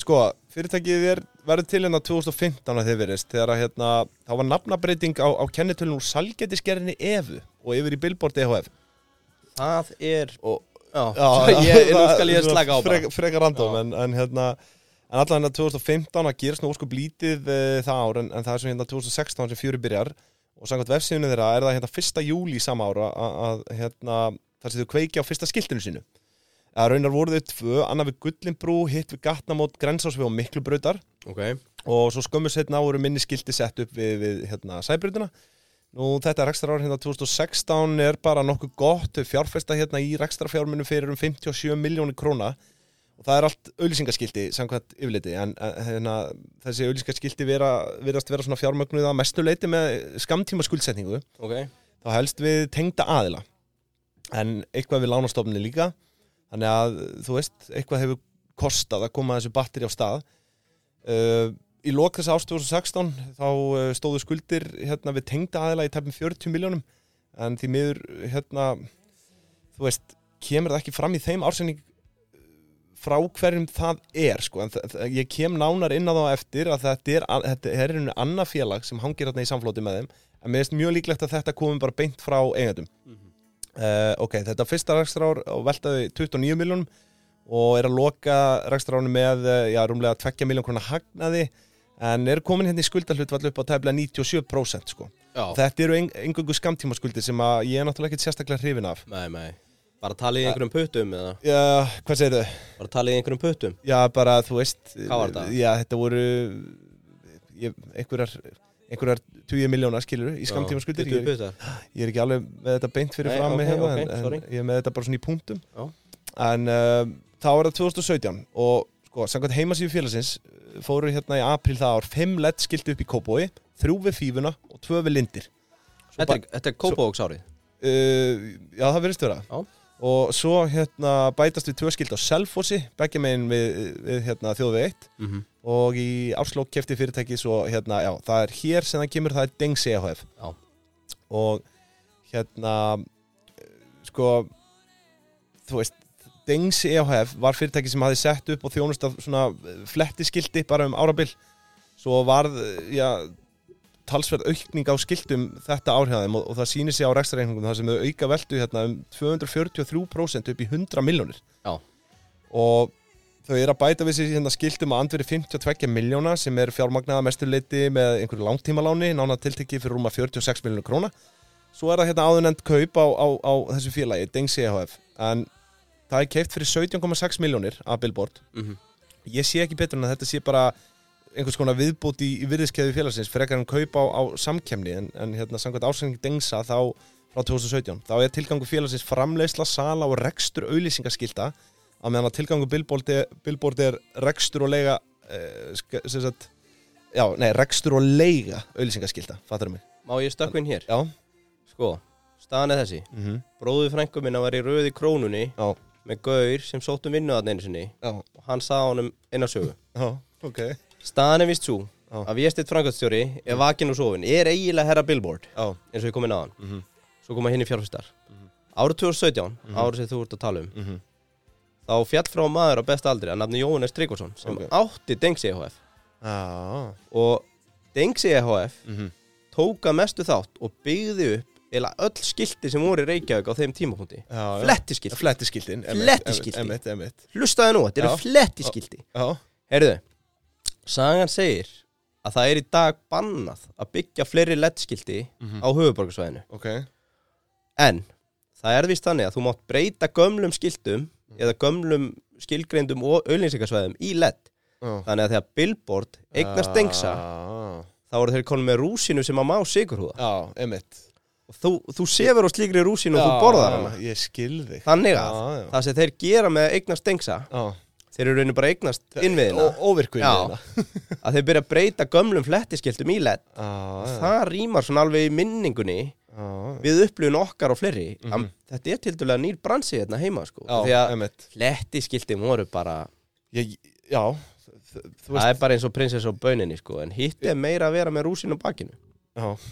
[SPEAKER 1] sko, fyrirtækið er, verður til hérna 2015 að þið verist, þegar að hérna, þá var nafnabreiting á, á kennitölun úr salgetiskerðinni EFU og yfir í Billboard E EHF.
[SPEAKER 2] það er...
[SPEAKER 1] Og-
[SPEAKER 2] Já, ég, nú skal ég slaka á bara.
[SPEAKER 1] Frek, frekar random,
[SPEAKER 2] Já.
[SPEAKER 1] en, en hérna, en allan hérna 2015 að gerist nú óskup lítið uh, það ár, en, en það er svo hérna 2016 sem fjöri byrjar og samkvæmt vefsíðunni þeirra er það hérna 1. júli sama ára að, að hérna, þar sem þau kveikja á fyrsta skiltinu sínu. Að raunar voru þau tvö, annar við Gullinbrú, hitt við Gatnamót, Grensásvið og Miklubrautar
[SPEAKER 2] Ok,
[SPEAKER 1] og svo skömmu setna voru minni skildi sett upp við, við hérna, sæbrutina Nú þetta rekstrarár hérna 2016 er bara nokkuð gott Þau fjárfesta hérna í rekstrarfjárminu fyrir um 57 miljónir króna og það er allt auðlýsingaskildi samkvæmt yfirliti en en, hérna, þessi auðlýsingaskildi vera, virast vera svona fjármögnuð að mestu leiti með skamtíma skuldsetningu
[SPEAKER 2] ok.
[SPEAKER 1] þá helst við tengda aðila en eitthvað við lánastofni líka þannig að þú veist, eitthvað hefur kostað að koma þessu batteri á stað uh, í lok þess árs 2016 þá uh, stóðu skuldir hérna, við tengda aðila í tæpum 40 miljónum en því miður hérna, þú veist, kemur það ekki fram í þeim ársynning frá hverjum það er sko. en þa- þa- ég kem nánar inn á það á eftir að þetta er, að, þetta er einu annað félag sem hangir hérna í samflóti með þeim en mér finnst mjög líklegt að þetta komi bara beint frá eigendum uh, ok, þetta fyrsta rekstrár og veltaði 29 miljónum og er að loka rekstrárinu með eh, já, rúmlega 2 miljón krona hagnaði en er komin hérna í skuldahlutvall upp á tæfla 97% sko.
[SPEAKER 2] Já,
[SPEAKER 1] þetta eru engöngu skamtíma skuldir sem að ég er náttúrulega ekki sérstaklega hrifin af
[SPEAKER 2] nei, nei. Bara talið í einhverjum puttum eða?
[SPEAKER 1] Já, hvað segir þau?
[SPEAKER 2] Bara talið í einhverjum puttum?
[SPEAKER 1] Já, bara þú veist
[SPEAKER 2] Hvað var þetta?
[SPEAKER 1] Já, þetta voru ég, einhverjar, einhverjar 20 miljóna skilur í skamtíma skuldir
[SPEAKER 2] Já, 20
[SPEAKER 1] ég, er-
[SPEAKER 2] puttar.
[SPEAKER 1] ég er ekki alveg með þetta beint fyrir
[SPEAKER 2] Nei,
[SPEAKER 1] fram
[SPEAKER 2] ok,
[SPEAKER 1] okay, hérna,
[SPEAKER 2] ok,
[SPEAKER 1] en,
[SPEAKER 2] sorry.
[SPEAKER 1] en ég er með þetta bara svona í punktum
[SPEAKER 2] Já.
[SPEAKER 1] en uh, þá er það 2017 og sko, samkvæmt heimasíðu félagsins uh, fóru hérna í april það ár fimm lett skildi upp í Kópói, þrjú við Fífuna og tvö við Lindir Svo
[SPEAKER 2] Þetta er- þetta er Kópavóksárið.
[SPEAKER 1] uh, já það verðist vera
[SPEAKER 2] Já.
[SPEAKER 1] og svo hérna bætast við tvö skildi á Selfossi, begge megin við, við hérna, þjóðveg 1 og í áslók kefti fyrirtæki svo hérna, já, það er hér sem það kemur, það er Dengs EHF
[SPEAKER 2] Já.
[SPEAKER 1] og hérna eh, sko þú veist, Dengs EHF var fyrirtæki sem hafði sett upp og þjónust af svona flettiskildi bara um árabil svo varð, eh, já talsverð aukning á skildum þetta árhjáðum og, og það sýnir sig á rekstrareiningum þar sem þau auka veldu hérna um 243% upp í 100 milljónir
[SPEAKER 2] Já.
[SPEAKER 1] og þau eru að bæta við sér hérna skiltum að andveri 52 miljóna sem er fjármagnaða mesturleiti með einhverju langtímaláni, nána tiltekki fyrir rúma 46 miljónu króna Svo er það hérna áðunend kaup á, á, á þessu félagi, Dengsi EHF En það er keift fyrir 17,6 miljónir af Billboard
[SPEAKER 2] Mhm.
[SPEAKER 1] Ég sé ekki betur en að þetta sé bara einhvers konar viðbúti í, í virðiskeðu félagsins frekar en kaup á, á samkemni en, en hérna samkvæmt ásending Dengsa þá frá 2017 þá er tilgangu félagsins framleiðsla, sala og rekstur auðlýsingaskilda að meðan að tilgangu Billboard er, Billboard er rekstur og leiga eh, sk- sem sagt, já, nei, rekstur og leiga auðlýsingaskilda, fattar mig
[SPEAKER 2] Má ég stökkva inn hér?
[SPEAKER 1] Já,
[SPEAKER 2] Sko, staðan er þessi
[SPEAKER 1] mm -hmm.
[SPEAKER 2] Bróður frængum minna var í röði krónunni
[SPEAKER 1] já,
[SPEAKER 2] með gaur sem sótt um vinnu þarna einu sinni
[SPEAKER 1] já,
[SPEAKER 2] og hann sagði honum eina sögu
[SPEAKER 1] já, ok
[SPEAKER 2] Staðan er vist svo
[SPEAKER 1] Já. Mhm.
[SPEAKER 2] að Vésteinn Franköldstjóri er vakin og sofin er eiginlega herra Billboard
[SPEAKER 1] Já,
[SPEAKER 2] eins og ég kom inn á hann
[SPEAKER 1] mhm,
[SPEAKER 2] svo koma hinn í fjárfistar Árið 2017, mm
[SPEAKER 1] Mhm.
[SPEAKER 2] árið sem þú ert að tala um
[SPEAKER 1] mhm,
[SPEAKER 2] þá fjall frá maður á besta aldri að nafni Jóhannes Tryggvason sem
[SPEAKER 1] Ok.
[SPEAKER 2] átti Dengsi EHF
[SPEAKER 1] já,
[SPEAKER 2] og Dengsi E EHF
[SPEAKER 1] mhm,
[SPEAKER 2] tóka mestu þátt og byggði upp eða öll skilti sem voru í Reykjavík á þeim tímapunkti
[SPEAKER 1] já já.
[SPEAKER 2] flettiskilti,
[SPEAKER 1] Flettiskildin einmitt,
[SPEAKER 2] Flettiskiltin.
[SPEAKER 1] einmitt, einmitt,
[SPEAKER 2] hlustaðu nú, þetta eru
[SPEAKER 1] Já.
[SPEAKER 2] flettiskilti
[SPEAKER 1] Já,
[SPEAKER 2] Herðu, sagan segir að það er í dag bannað að byggja fleiri leddskilti
[SPEAKER 1] Mhm.
[SPEAKER 2] á höfuborgarsvæðinu.
[SPEAKER 1] ok
[SPEAKER 2] En það er vist þannig að þú mátt breyta gömlum skiltum
[SPEAKER 1] Mhm.
[SPEAKER 2] eða gömlum skilgreindum og auðlýsingarsvæðum í ledd.
[SPEAKER 1] Já.
[SPEAKER 2] Þannig að þegar Billboard eignast dengsa,
[SPEAKER 1] Ah. Já,
[SPEAKER 2] þá eru þeir konum með rúsinu sem að má sigurhúða.
[SPEAKER 1] Já, einmitt
[SPEAKER 2] Og þú, þú sefur á slíkri rúsinu og
[SPEAKER 1] Já,
[SPEAKER 2] þú borðar hana.
[SPEAKER 1] Ég skil þig
[SPEAKER 2] Þannig
[SPEAKER 1] Já,
[SPEAKER 2] að
[SPEAKER 1] já.
[SPEAKER 2] það sem þeir gera með að eignast dengsa,
[SPEAKER 1] Já.
[SPEAKER 2] þeir eru raunin bara að eignast innviðina,
[SPEAKER 1] Ó- Óvirku innviðina
[SPEAKER 2] að þeir byrja að breyta gömlum flettiskiltum í ledd
[SPEAKER 1] Já, já,
[SPEAKER 2] það rýmar svona alveg í minningunni
[SPEAKER 1] já, já.
[SPEAKER 2] við upplifun okkar og fleiri mm þetta er til dælega nýr bransi hérna heima sko,
[SPEAKER 1] Mhm. Já,
[SPEAKER 2] því að
[SPEAKER 1] einmitt
[SPEAKER 2] flettiskiltin voru bara
[SPEAKER 1] Ég, já, þ- þú
[SPEAKER 2] það
[SPEAKER 1] veist
[SPEAKER 2] er bara eins og prinsess á böninni sko, en hitt er meira að vera með rúsin á bakinu
[SPEAKER 1] Já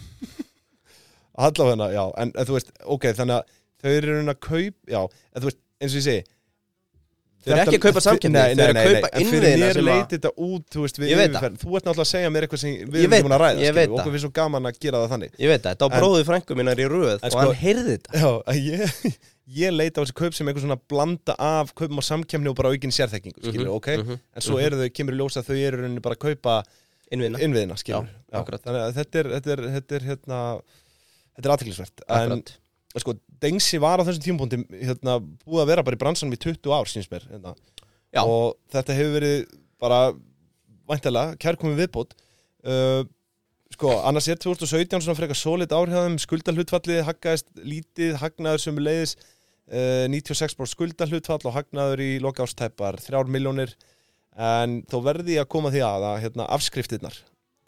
[SPEAKER 1] Allavegna, já, en en þú veist, ok, þannig að þau eru raun að kaup, já, en þú veist, eins og ég segi
[SPEAKER 2] Þau eru
[SPEAKER 1] þetta-
[SPEAKER 2] ekki að kaupa samkeppni,
[SPEAKER 1] Nei, nei,
[SPEAKER 2] þau eru að
[SPEAKER 1] nei, nei,
[SPEAKER 2] kaupa
[SPEAKER 1] en
[SPEAKER 2] innviðina
[SPEAKER 1] Fyrir mér
[SPEAKER 2] sem að-
[SPEAKER 1] leiti þetta út, þú veist, við
[SPEAKER 2] Ég veit það.
[SPEAKER 1] yfirferð Þú ert náttúrulega að segja mér eitthvað sem við
[SPEAKER 2] Ég
[SPEAKER 1] erum
[SPEAKER 2] veit
[SPEAKER 1] ekki búin að ræða,
[SPEAKER 2] það, ég veit
[SPEAKER 1] skilur,
[SPEAKER 2] það.
[SPEAKER 1] okkur finnst svo gaman að gera það þannig
[SPEAKER 2] ég veit það, þetta á
[SPEAKER 1] En-
[SPEAKER 2] bróði frængu minnar í röð
[SPEAKER 1] En
[SPEAKER 2] og
[SPEAKER 1] sko-
[SPEAKER 2] hann heyrði þetta
[SPEAKER 1] Já, að ég, ég leita á þessi kaup sem eitthvað svona blanda af kaupum á samkemni og bara aukin sérþekkingu, skilur, ok
[SPEAKER 2] mhm,
[SPEAKER 1] En svo eru þau, kemur í ljós að þau eru í rauninni bara að kaupa
[SPEAKER 2] innvinna
[SPEAKER 1] innviðina, skilur
[SPEAKER 2] Já, akkurat.
[SPEAKER 1] Þannig að þetta er, þetta er, þetta er, hérna, þetta er athyglisvert En
[SPEAKER 2] Akkurat.
[SPEAKER 1] sko, Dengsi var á þessum tímapunkti hérna, búið að vera bara í bransanum í 20 ár síns mér hérna.
[SPEAKER 2] Já.
[SPEAKER 1] og þetta hefur verið bara væntalega, kærkomið viðbót uh, sko, annars er 2017 svona frekar solid árhjáðum skuldalhutfallið, haggaðist lítið hagnaður sem leiðis uh, 96% skuldalhutfall og hagnaður í loka ástæpar, 3 miljónir en þó verði ég að koma því að að hérna, afskriftirnar,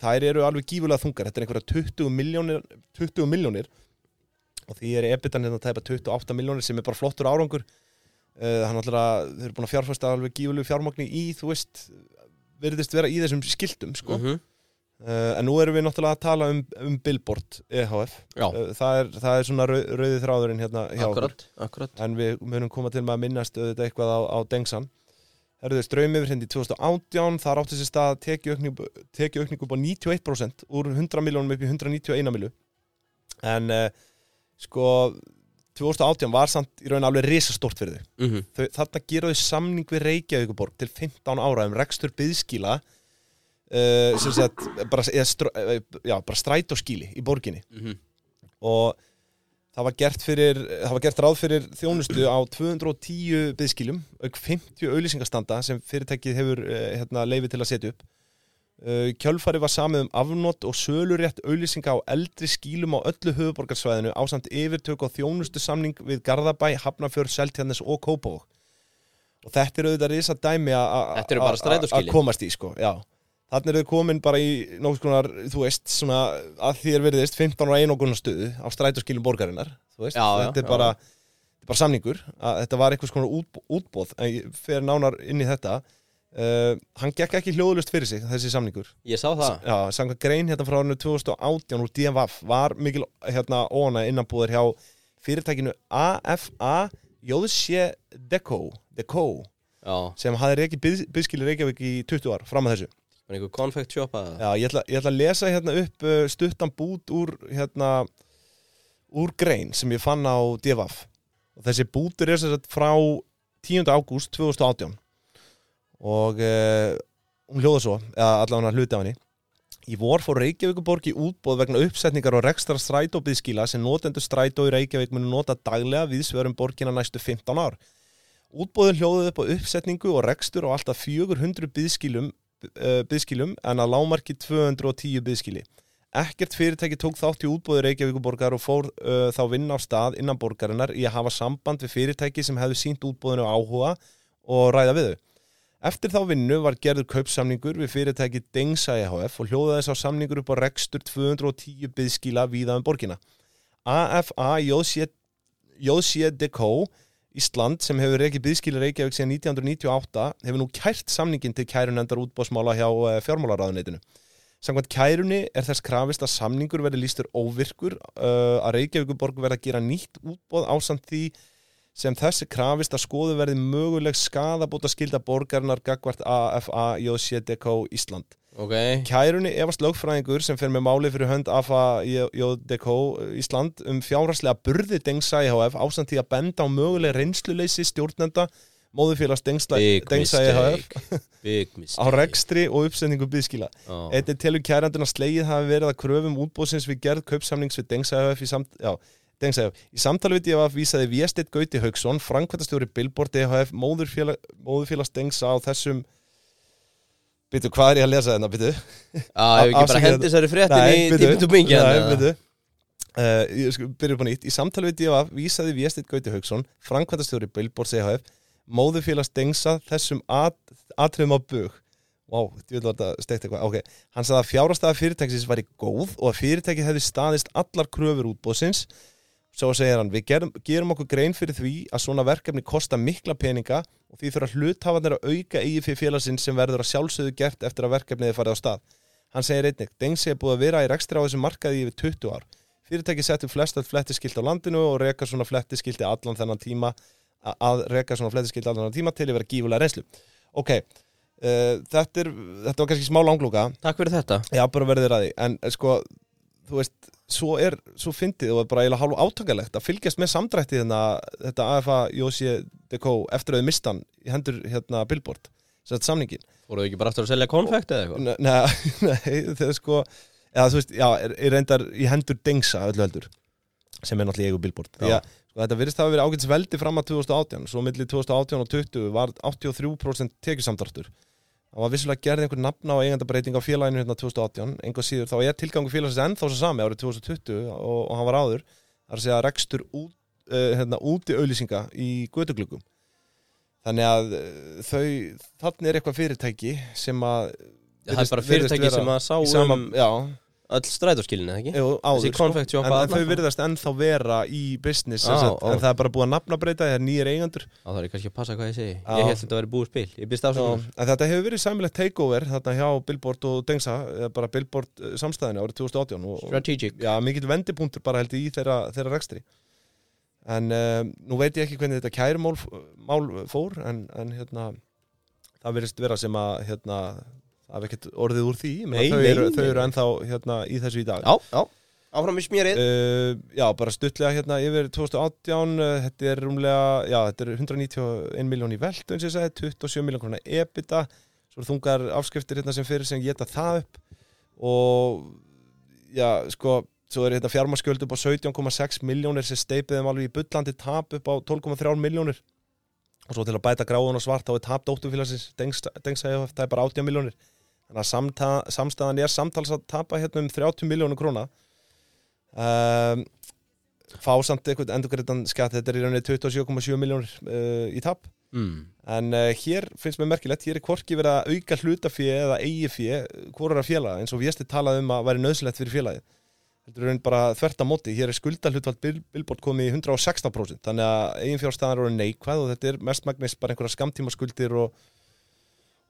[SPEAKER 1] þær eru alveg gífulega þungar, þetta er einhverja 20 miljónir 20 miljónir og því er ebitan hérna að tæpa 28 miljónir sem er bara flottur árangur uh, hann ætlar að, þau eru búin að fjárfæsta alveg gífulegu fjármagni í, þú veist virðist vera í þessum skiltum sko.
[SPEAKER 2] Mhm.
[SPEAKER 1] uh, en nú erum við náttúrulega að tala um, um Billboard EHF
[SPEAKER 2] já,
[SPEAKER 1] uh, það, er, það er svona rau, rauði þráðurinn hérna hjá okkur
[SPEAKER 2] akkurat, akkurat
[SPEAKER 1] en við munum koma til með að minnast auðvitað eitthvað á, á Dengsan Herðu ströymifrind í 2018 þar átti sér stað tekiaukningu teki upp á 91% úr 100 miljónum upp í 191 miljú en uh, sko 2018 var samt í raun alveg risastórt fyrir þau.
[SPEAKER 2] mm -hmm.
[SPEAKER 1] þau þarna gera þau samning við Reykjavíkuborg til 15 ára um rekstur byðskíla uh, sem sagt bara, eða, stró- eh, já, bara strætóskíli í borginni
[SPEAKER 2] mhm.
[SPEAKER 1] og það var gert, fyrir, það var gert ráð fyrir þjónustu á 210 byðskiljum auk 50 auðlýsingastanda sem fyrirtækið hefur eh, hérna, leifi til að setja upp Eh, í Kjölfari var samið um afnót og sölurétt auðlýsinga á eldri skýlum á öllu höfuborgarsvæðinu ásamt yfirtök og þjónustu samning við Garðabæ, Hafnafjör, Seltjarnes og Kópavók. Og þetta er auðvitað risa dæmi að- að-
[SPEAKER 2] Þetta eru bara
[SPEAKER 1] að-
[SPEAKER 2] strætóskýlin.
[SPEAKER 1] að komast í, sko, já. Þannig eru þau komin bara í nokkuð skonar, þú veist, svona að þér verðist 15 og 1 okkurna stöðu á strætóskýlum borgarinnar, þú veist,
[SPEAKER 2] Já, já,
[SPEAKER 1] þetta er
[SPEAKER 2] já.
[SPEAKER 1] bara, þetta er bara samningur, að þetta var einhvers konar út, útbóð, en ég fer nánar inn í þetta. Uh, hann gekk ekki hljóðlust fyrir sig, þessi samningur
[SPEAKER 2] ég sá það
[SPEAKER 1] Já, samkvæmt grein hérna frá árinu 2018 úr DMVF var mikil hérna óna innanbúður hjá fyrirtækinu AFA Jóðsje Deco, Deco
[SPEAKER 2] já,
[SPEAKER 1] sem hafði reikið byð, byðskili Reykjavík í 20 ár fram að þessu.
[SPEAKER 2] var einhver konfekt sjópað
[SPEAKER 1] Já, ég ætla, ég ætla að lesa hérna upp uh, stuttan bút úr hérna úr grein sem ég fann á DFF og þessi bútur er sem sagt frá 10. ágúst 2018 og uh, hún hljóða svo, eða allavega hluti af henni Í vor fór Reykjavíkuborg í útbóð vegna uppsetningar og rekstra strætóbiðskíla sem notendur strætó í Reykjavík munu nota daglega viðsverum borgina næstu 15 ár. Útbóðin hljóðuð upp á uppsetningu og rekstur á alltaf 400 biðskilum, uh, biðskilum en að lámarki 210 biðskili. Ekkert fyrirtæki tók þátt í útbóði Reykjavíkuborgar og fór uh, þá vinna á stað innan borgarinnar í að hafa samband við fyrirtæki sem hefðu sínt útbóðinu áhuga og ræða við þau. Eftir þá vinnu var gerður kaupsamningur við fyrirtæki Dengsa EHF og hljóðaði sá samningur upp á rekstur 210 byðskíla víða um borgina. AFA Jósiedeco Ísland sem hefur reikið byðskíla Reykjavík síðan 1998 hefur nú kært samningin til kærunendar útbóðsmála hjá eh, fjármálaráðuneytinu. Samkvæmt kærunni er þess krafist að samningur verði lístur óvirkur uh, að Reykjavíkuborg verði að gera nýtt útbóð ásamt því sem þessi krafist að skoðu verði möguleg skadabóta skilda borgarinnar gagvart AFA JCDK Ísland.
[SPEAKER 2] Ok,
[SPEAKER 1] Kærunni efast lögfræðingur sem fer með máli fyrir hönd AFA JDK Ísland um fjárhagslega burði Dengsa IHF ásamt því að benda á möguleg reynsluleysi stjórnenda móðufélags Dengsa
[SPEAKER 2] big
[SPEAKER 1] Dengsa IHF
[SPEAKER 2] mistake Big
[SPEAKER 1] á
[SPEAKER 2] mistake
[SPEAKER 1] rekstri og uppsetningu byggskila.
[SPEAKER 2] Já.
[SPEAKER 1] Einnig telur kærandun að slegið hafi verið að kröfum útbóðsins við gerð kaupsamnings við Dengsæðaf í samt... Já, Dengsæðaf. Í samtali við DFF vísaði Viestedt Gauti Haugsson, frankvæntastjóri Billboard DHF, móðurfélag, móðurfélags Dengsa á þessum... Býtu, hvað er ég að lesa hérna, þennan, býtu?
[SPEAKER 2] Já, ef ekki bara
[SPEAKER 1] Afsakið
[SPEAKER 2] hendi þessari fréttin í dýpitumingin
[SPEAKER 1] Nei, býtu. Uh, ég sko, byrja upp á nýtt. Í samtali við DFF vísaði Viestedt Gauti Haugsson, frankvæntastjóri Billboard DHF, móðurfélags Dengsa þessum at, atriðum á bug. Vá, wow, djúvel var þetta steikt eitthvað, ok. Hann sagði að fjárhastaða fyrirtækisins væri góð og að fyrirtækið hefði staðist allar kröfur útbóðsins. Svo segir hann, við gerum, gerum okkur grein fyrir því að svona verkefni kosta mikla peninga og því þurfa hluthafarnir að auka eigi fyrir félagsins sem verður að sjálfsögðu gert eftir að verkefniði farið á stað. Hann segir einnig, Dengsi er búið að vera í rekstri á þessum markaði yfir 20 ár. Fyrirtækið settur flestat flettiskilt á landinu og reka svona flettiskilti allan þennan tíma a- að reka svona flettiskilti allan þennan tíma til yfir að gífulega reynslu. Ok, Uh, þetta, er, þetta var kannski smá langlúka
[SPEAKER 2] Takk fyrir þetta
[SPEAKER 1] Já, bara verðið ræði En eh, sko, þú veist, svo er Svo fyndið og bara eiginlega hálf átakalegt Að fylgjast með samdrætti þarna Þetta AFA Jósi Dekó Eftir að þau mistan í hendur hérna Billboard Sem þetta samningin
[SPEAKER 2] Fóruðu ekki bara aftur að selja konfekt eða eitthvað?
[SPEAKER 1] Nei, nei þegar sko Já, þú veist, já, er, er reyndar í hendur Dengsa öllu heldur Sem er náttúrulega í eigu Billboard Því
[SPEAKER 2] Já.
[SPEAKER 1] að sko, þetta virðist hafa verið ágætis veldi fram að 2018 Svo milli 2018 og 20 var 83% tekjusamdráttur Það var vissulega gerði einhver nafna og eigandabreiting á félaginu hérna 2018, einhver síður þá er tilgangu félagsins ennþá svo sami árið 2020 og, og hann var áður, það er að segja rekstur út, uh, hérna, úti auðlýsinga í götugluggum. Þannig að uh, þau, þannig er eitthvað fyrirtæki sem að
[SPEAKER 2] Það er bara
[SPEAKER 1] virðist- virðist
[SPEAKER 2] fyrirtæki
[SPEAKER 1] vera
[SPEAKER 2] sem að sá
[SPEAKER 1] í sama,
[SPEAKER 2] um
[SPEAKER 1] já,
[SPEAKER 2] öll strætóskilinu, ekki?
[SPEAKER 1] jú, áður, sko.
[SPEAKER 2] Þessi konfekt
[SPEAKER 1] en,
[SPEAKER 2] sjoppa
[SPEAKER 1] en þau virðast ennþá vera í business,
[SPEAKER 2] Á,
[SPEAKER 1] ah, sett,
[SPEAKER 2] ó.
[SPEAKER 1] en það er bara búið að nafnabreita, það er nýjir eigendur
[SPEAKER 2] Það er kannski að passa hvað ég segi
[SPEAKER 1] Já.
[SPEAKER 2] Ég held þetta að vera búið spil Ég um byrst
[SPEAKER 1] Já,
[SPEAKER 2] ásökun
[SPEAKER 1] en þetta hefur verið sæmilegt takeover þarna hjá Billboard og Dengsa eða bara Billboard eh, samstæðinu árið 2018 og, og
[SPEAKER 2] Strategic
[SPEAKER 1] já, mikill vendipunktur bara held ég í þeirra, þeirra rekstri en um, nú veit ég ekki hvernig þetta kærumál f- mál fór en, en hérna það verðist vera sem að hérna, það hef ekkert orðið úr því Ég meina,
[SPEAKER 2] Nei,
[SPEAKER 1] þau,
[SPEAKER 2] nei,
[SPEAKER 1] eru,
[SPEAKER 2] nei.
[SPEAKER 1] þau eru ennþá hérna, í þessu í dag
[SPEAKER 2] Já, já Áfram í smjörið
[SPEAKER 1] Uh, já, bara stuttlega hérna yfir 2018, uh, þetta er rúmlega, já, þetta er 191 miljón í veldu eins og ég segi, 27 miljón krona EBITDA, svo eru þungar afskriftir hérna sem fyrir sem geta það upp og já, sko, svo er hérna fjármarskjöld upp á 17,6 miljónir sem steipið þeim alveg í bullandi tap upp á 12,3 miljónir og svo til að bæta gráðun og svart þá er tap dóttufélagsins, dengsa ég það er bara 18 miljónir þannig að samta, samstæðan er samtals að tapa hérna um 30 miljónir króna um, fá samt eitthvað endurgréttan skatt, þetta er í rauninni 27,7 miljónir uh, í tap
[SPEAKER 2] mm.
[SPEAKER 1] En uh, hér finnst mér merkilegt, hér er hvorki verið að auka hlutafið eða eigi fið hvorur að félaga, eins og Viesti talaði um að væri nöðsilegt fyrir félagið. Heldur raun bara þvert á móti, hér er skuldahlutfald Bill, Billboard komið í 116%, þannig að eiginfjárstaðar eru neikvæð og þetta er mestmagnis bara einhverja skamtímaskuldir og,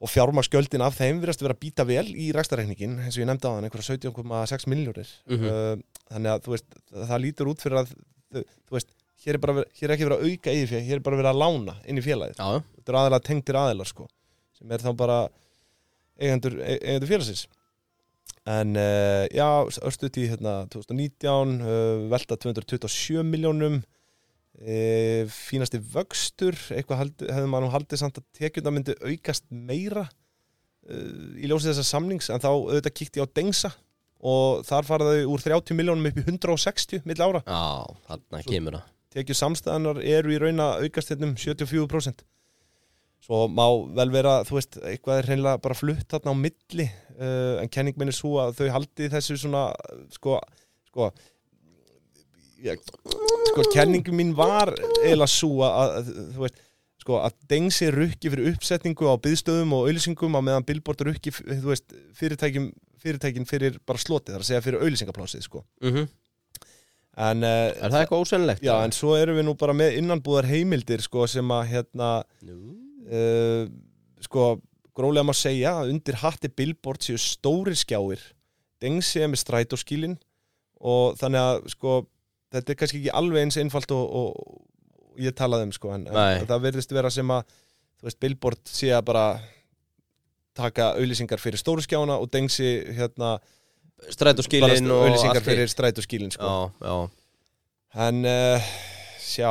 [SPEAKER 1] og fjármagsgjöldin af þeim virðast vera að býta vel í rækstareikningin, eins og ég nefndi á hann, einhverja 17,6 miljónir.
[SPEAKER 2] Mhm.
[SPEAKER 1] uh, þannig að þú veist, það lítur út fyrir að, þú, þú veist, hér er, bara, verið- hér er ekki verið að auka eigi hér er bara verið að lána inn í félagið
[SPEAKER 2] Já, já
[SPEAKER 1] þetta eru aðalega tengdir aðilar sko sem er þá bara eigendur, e- eigendur félagsins en uh, já, örstuðt í hérna 2019, uh, velta 227 miljónum uh, fínasti vöxtur eitthvað hald, hefði maður nú haldið samt að tekjunda myndi aukast meira uh, í ljósi þessa samnings en þá auðvitað kíkti ég á Dengsa og þar faraði úr 30 miljónum upp í 160 mill ára
[SPEAKER 2] Já, þarna kemur það
[SPEAKER 1] tekjur samstæðanar eru í raun að aukast hérna um 74% svo má vel vera, þú veist, eitthvað er hreinlega bara flutt þarna á milli uh, en kenning minn er svo að þau haldi þessu svona, sko sko ég, sko, kenningum mín var eiginlega svo að, að, þú veist sko, að dengsi rukki fyrir uppsetningu á byðstöðum og auðlýsingum á meðan billboard rukki, þú veist, fyrirtækin fyrirtækin fyrir bara slotið, það er að segja fyrir auðlýsingaplásið, sko en uh,
[SPEAKER 2] Er það eitthvað ósennilegt?
[SPEAKER 1] Já, en svo erum við nú bara með innanbúðar heimildir sko, sem að hérna uh, sko, grólega má segja að undir hatti billboard séu stóri skjáir dengsi er með strætóskílin og þannig að sko, þetta er kannski ekki alveg eins einfalt og, og, og ég talaði um sko, en,
[SPEAKER 2] Nei.
[SPEAKER 1] en það virðist vera sem að þú veist, billboard sé að bara taka auðlýsingar fyrir stóru skjána og dengsi hérna bara
[SPEAKER 2] Strætóskilin og
[SPEAKER 1] auðlýsingar
[SPEAKER 2] allt
[SPEAKER 1] fyrir strætóskílin
[SPEAKER 2] hitt.
[SPEAKER 1] sko.
[SPEAKER 2] Já, já
[SPEAKER 1] En uh, sjá,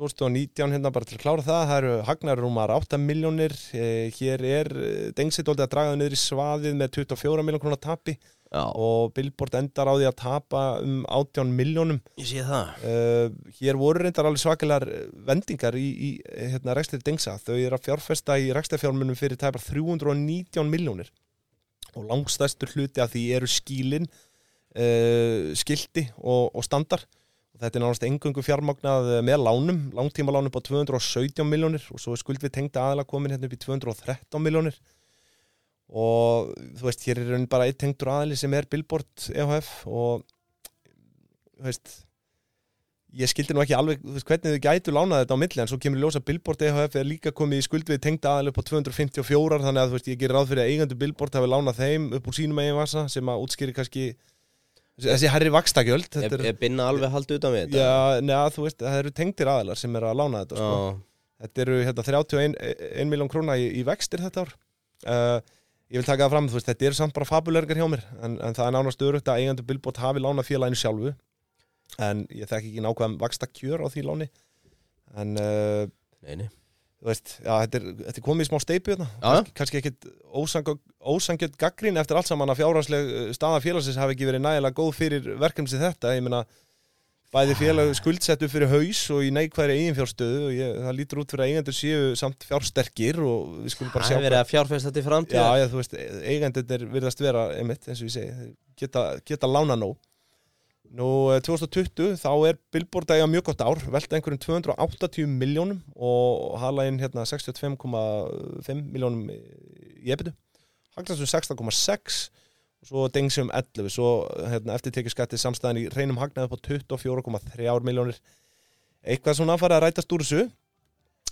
[SPEAKER 1] 2019 hérna bara til að klára það, það eru hagnarrúmar 8 miljónir, eh, hér er dengsitóldið að draga niður í svaðið með 24 miljón krónar tapi
[SPEAKER 2] Já,
[SPEAKER 1] og Billboard endar á því að tapa um 18 miljónum.
[SPEAKER 2] ég sé það
[SPEAKER 1] Uh, hér voru reyndar alveg svakalar vendingar í, í eh, hérna, rekstir dengsa, þau eru að fjárfesta í rekstarfjármunum fyrir tæpar 319 miljónir og langstæstur hluti af því eru skílin uh, skildi og, og standar og þetta er nánast engungu fjármagnað eh, með lánum, langtíma lánum upp á 217 miljónir og svo er skuld við tengda aðla komin hérna upp í 213 miljónir og þú veist, hér er í raun bara einn tengdur aðli sem er Billboard EHF og þú veist ég skildi nú ekki alveg þú veist, hvernig þau gætu lánað þetta á milli en svo kemur í ljós að Billboard EHF er líka komið í skuld við tengda aðli upp á 254 þannig að þú veist, ég gerir ráð fyrir að eigendur Billboard hafi lánað þeim upp úr sínum eigin vasa sem að útskýri kannski þessi herri vakstakjöld
[SPEAKER 2] Er, er binna alveg haldið utan við þetta?
[SPEAKER 1] Já, neða, þú veist, það eru tengdir aðilar sem eru að lána þetta, sko. Þetta eru hérna 31 1 miljón króna í, í vextir þetta ár. Uh, ég vil taka það fram, þú veist, þetta eru samt bara fabulergar hjá mér, en, en það er nánast örugt að eigendur Bilbot hafi lánað félaginu sjálfu, en ég þekki ekki nákvæm vaksta kjör á því láni, en uh,
[SPEAKER 2] Nei, nei
[SPEAKER 1] þú veist, já, þetta er, þetta er komið í smá hérna. steipu þetta,
[SPEAKER 2] Já, já.
[SPEAKER 1] kannski ekkit ósangjöld gaggrín eftir allt saman að fjárhagsleg eh, staða félagsins hafi ekki verið nægilega góð fyrir verkefni sem þetta, ég meina bæði félag skuldsettu fyrir haus og í neikværi eiginfjárstöðu og ég, það lítur út fyrir að eigendur séu samt fjársterkir og við skulum bara
[SPEAKER 2] Það
[SPEAKER 1] sjá
[SPEAKER 2] er verið að fjárfesta þetta í
[SPEAKER 1] hvað- já,
[SPEAKER 2] framtíð
[SPEAKER 1] já, þú veist, eigendurnir virðast vera einmitt, eins og ég segi, þeir geta, geta lána nóg Nú, eh, 2020, þá er Billboard að eiga mjög gott ár, velta einhverjum 280 miljónum og hala inn hérna 65,5 miljónum í ebitu. Hagnast um 16,6 og svo dengsi um 11, svo hérna, eftir tekið skattið samstæðan í reynum hagnaði upp á 24,3 miljónir. Eitthvað svona að fara að rætast úr þessu.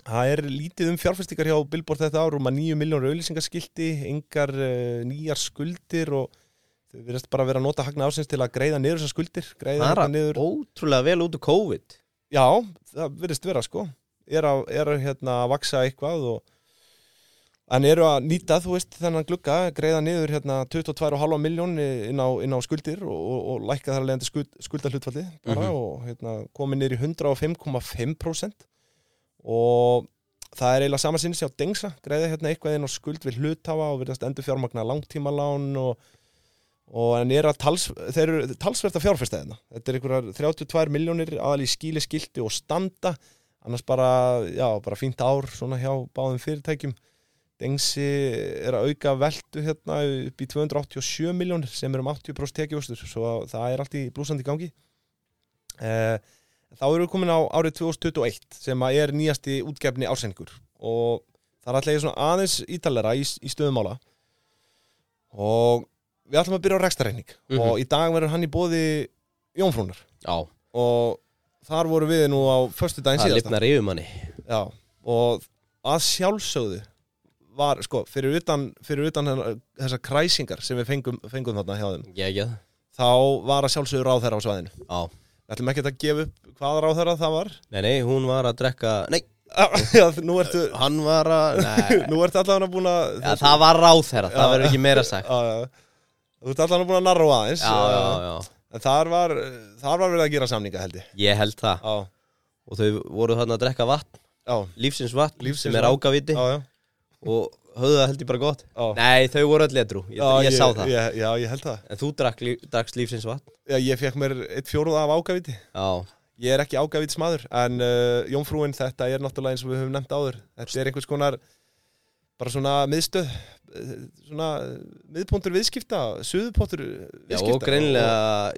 [SPEAKER 1] Það er lítið um fjárfestingar hjá Billboard þetta ár, rúma 9 miljónur auðlýsingaskilti, engar uh, nýjar skuldir og þau verðast bara að vera að nota hagna ásins til að greiða niður þessar skuldir greiða
[SPEAKER 2] Það er
[SPEAKER 1] þetta
[SPEAKER 2] að
[SPEAKER 1] niður
[SPEAKER 2] ótrúlega vel út úr COVID
[SPEAKER 1] já, það verðist vera sko er að, er að hérna, vaksa eitthvað og en eru að nýta, þú veist, þennan glugga greiða niður hérna 22,5 miljón inn á, inn á skuldir og, og, og lækka þar að leiðandi skuld, skuldahlutfalli bara
[SPEAKER 2] Mhm.
[SPEAKER 1] og hérna, komið niður í 105,5% og það er eiginlega sama sinni sem á Dengsa greiða hérna eitthvað inn á skuld við hluthafa og verðast endur fjármagna langtímalán og, og en er að tals, þeir eru talsvert að fjárfesta þeirna þetta er einhverjar 32 miljónir aðal í skíli skilti og standa annars bara, já, bara fínt ár svona hjá báðum fyrirtækjum Dengsi er að auka veltu hérna upp í 287 miljónir sem er um 80% tekjústur svo að það er allt í blúsandi gangi eh, Þá erum við komin á árið 2021 sem að er nýjasti útgefni ásengur og það er alltaf ég svona aðeins ítalera í, í stöðumála og við ætlum að byrja á rekstareining
[SPEAKER 2] Mhm.
[SPEAKER 1] og í dag verður hann í bóði Jónfrúnar
[SPEAKER 2] Já,
[SPEAKER 1] og þar voru við nú á föstu daginn
[SPEAKER 2] það
[SPEAKER 1] síðasta
[SPEAKER 2] lifnar yfir manni
[SPEAKER 1] Já, og að sjálfsögðu var, sko, fyrir utan, fyrir utan hennar- þessar kræsingar sem við fengum, fengum þarna hjá þeim,
[SPEAKER 2] Ég ekki
[SPEAKER 1] þá var að sjálfsögðu ráðherra á svæðinu.
[SPEAKER 2] Já
[SPEAKER 1] Við ætlum ekki að gefa upp hvaða ráðherra það var.
[SPEAKER 2] Nei, nei, hún var að drekka Nei,
[SPEAKER 1] Já, nú ertu,
[SPEAKER 2] hann var að Nei,
[SPEAKER 1] nú ertu allavega búin að...
[SPEAKER 2] ja, það var ráð þeirra, það
[SPEAKER 1] Já.
[SPEAKER 2] verður ekki meira sagt
[SPEAKER 1] Já, já. Þú ert allavega búin að narra á aðeins.
[SPEAKER 2] Já, já, já,
[SPEAKER 1] En þar var, þar var verið að gera samninga, held ég.
[SPEAKER 2] ég held það
[SPEAKER 1] Já,
[SPEAKER 2] Og þau voru þarna að drekka vatn,
[SPEAKER 1] já,
[SPEAKER 2] lífsins vatn
[SPEAKER 1] Lífsins
[SPEAKER 2] Sem er
[SPEAKER 1] vatn.
[SPEAKER 2] ágaviti
[SPEAKER 1] já, já.
[SPEAKER 2] og höfðu það held ég bara gott
[SPEAKER 1] Ó.
[SPEAKER 2] Nei, þau voru öll letrú, ég, ég, sá það
[SPEAKER 1] ég, Já, ég held það
[SPEAKER 2] En þú drakk líf, drakkst lífsins vatn
[SPEAKER 1] Já, Ég fekk mér eitt fjóruð af ágaviti
[SPEAKER 2] Já,
[SPEAKER 1] Ég er ekki ágæfits maður, en uh, Jónfrúin þetta er náttúrulega eins og við höfum nefnt áður. Þetta er einhvers konar, bara svona miðstöð, eh, svona eh, miðpunktur viðskipta, suðupóttur viðskipta.
[SPEAKER 2] já og greinilega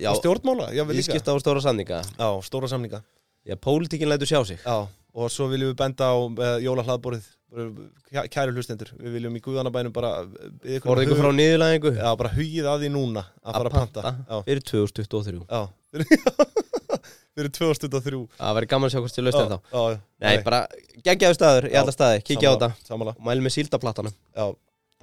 [SPEAKER 2] Já,
[SPEAKER 1] og stjórnmála, já, við líka.
[SPEAKER 2] viðskipta og stóra samninga
[SPEAKER 1] Já, stóra samninga.
[SPEAKER 2] Já, pólitíkin lætur sjá sig
[SPEAKER 1] Já, og svo viljum við benda á uh, jólahlaðborðið, Bara, kæ- kæru hlustendur. Við viljum í guðanabænum bara... eh, ykkur-
[SPEAKER 2] Orðið ykkur frá niðurlæðingu
[SPEAKER 1] Já, bara hugið að því núna að fara að panta.
[SPEAKER 2] Fyrir 2023
[SPEAKER 1] Já, já. Við erum 2023.
[SPEAKER 2] Það væri gaman að sjá hvort þið laust
[SPEAKER 1] Já,
[SPEAKER 2] þetta þá
[SPEAKER 1] já, já.
[SPEAKER 2] Nei, bara geggjaðu staður í
[SPEAKER 1] Já,
[SPEAKER 2] alla staði, kíkja á
[SPEAKER 1] Sammála,
[SPEAKER 2] þetta
[SPEAKER 1] Sammála.
[SPEAKER 2] og mælu með síldaplatanum
[SPEAKER 1] Já,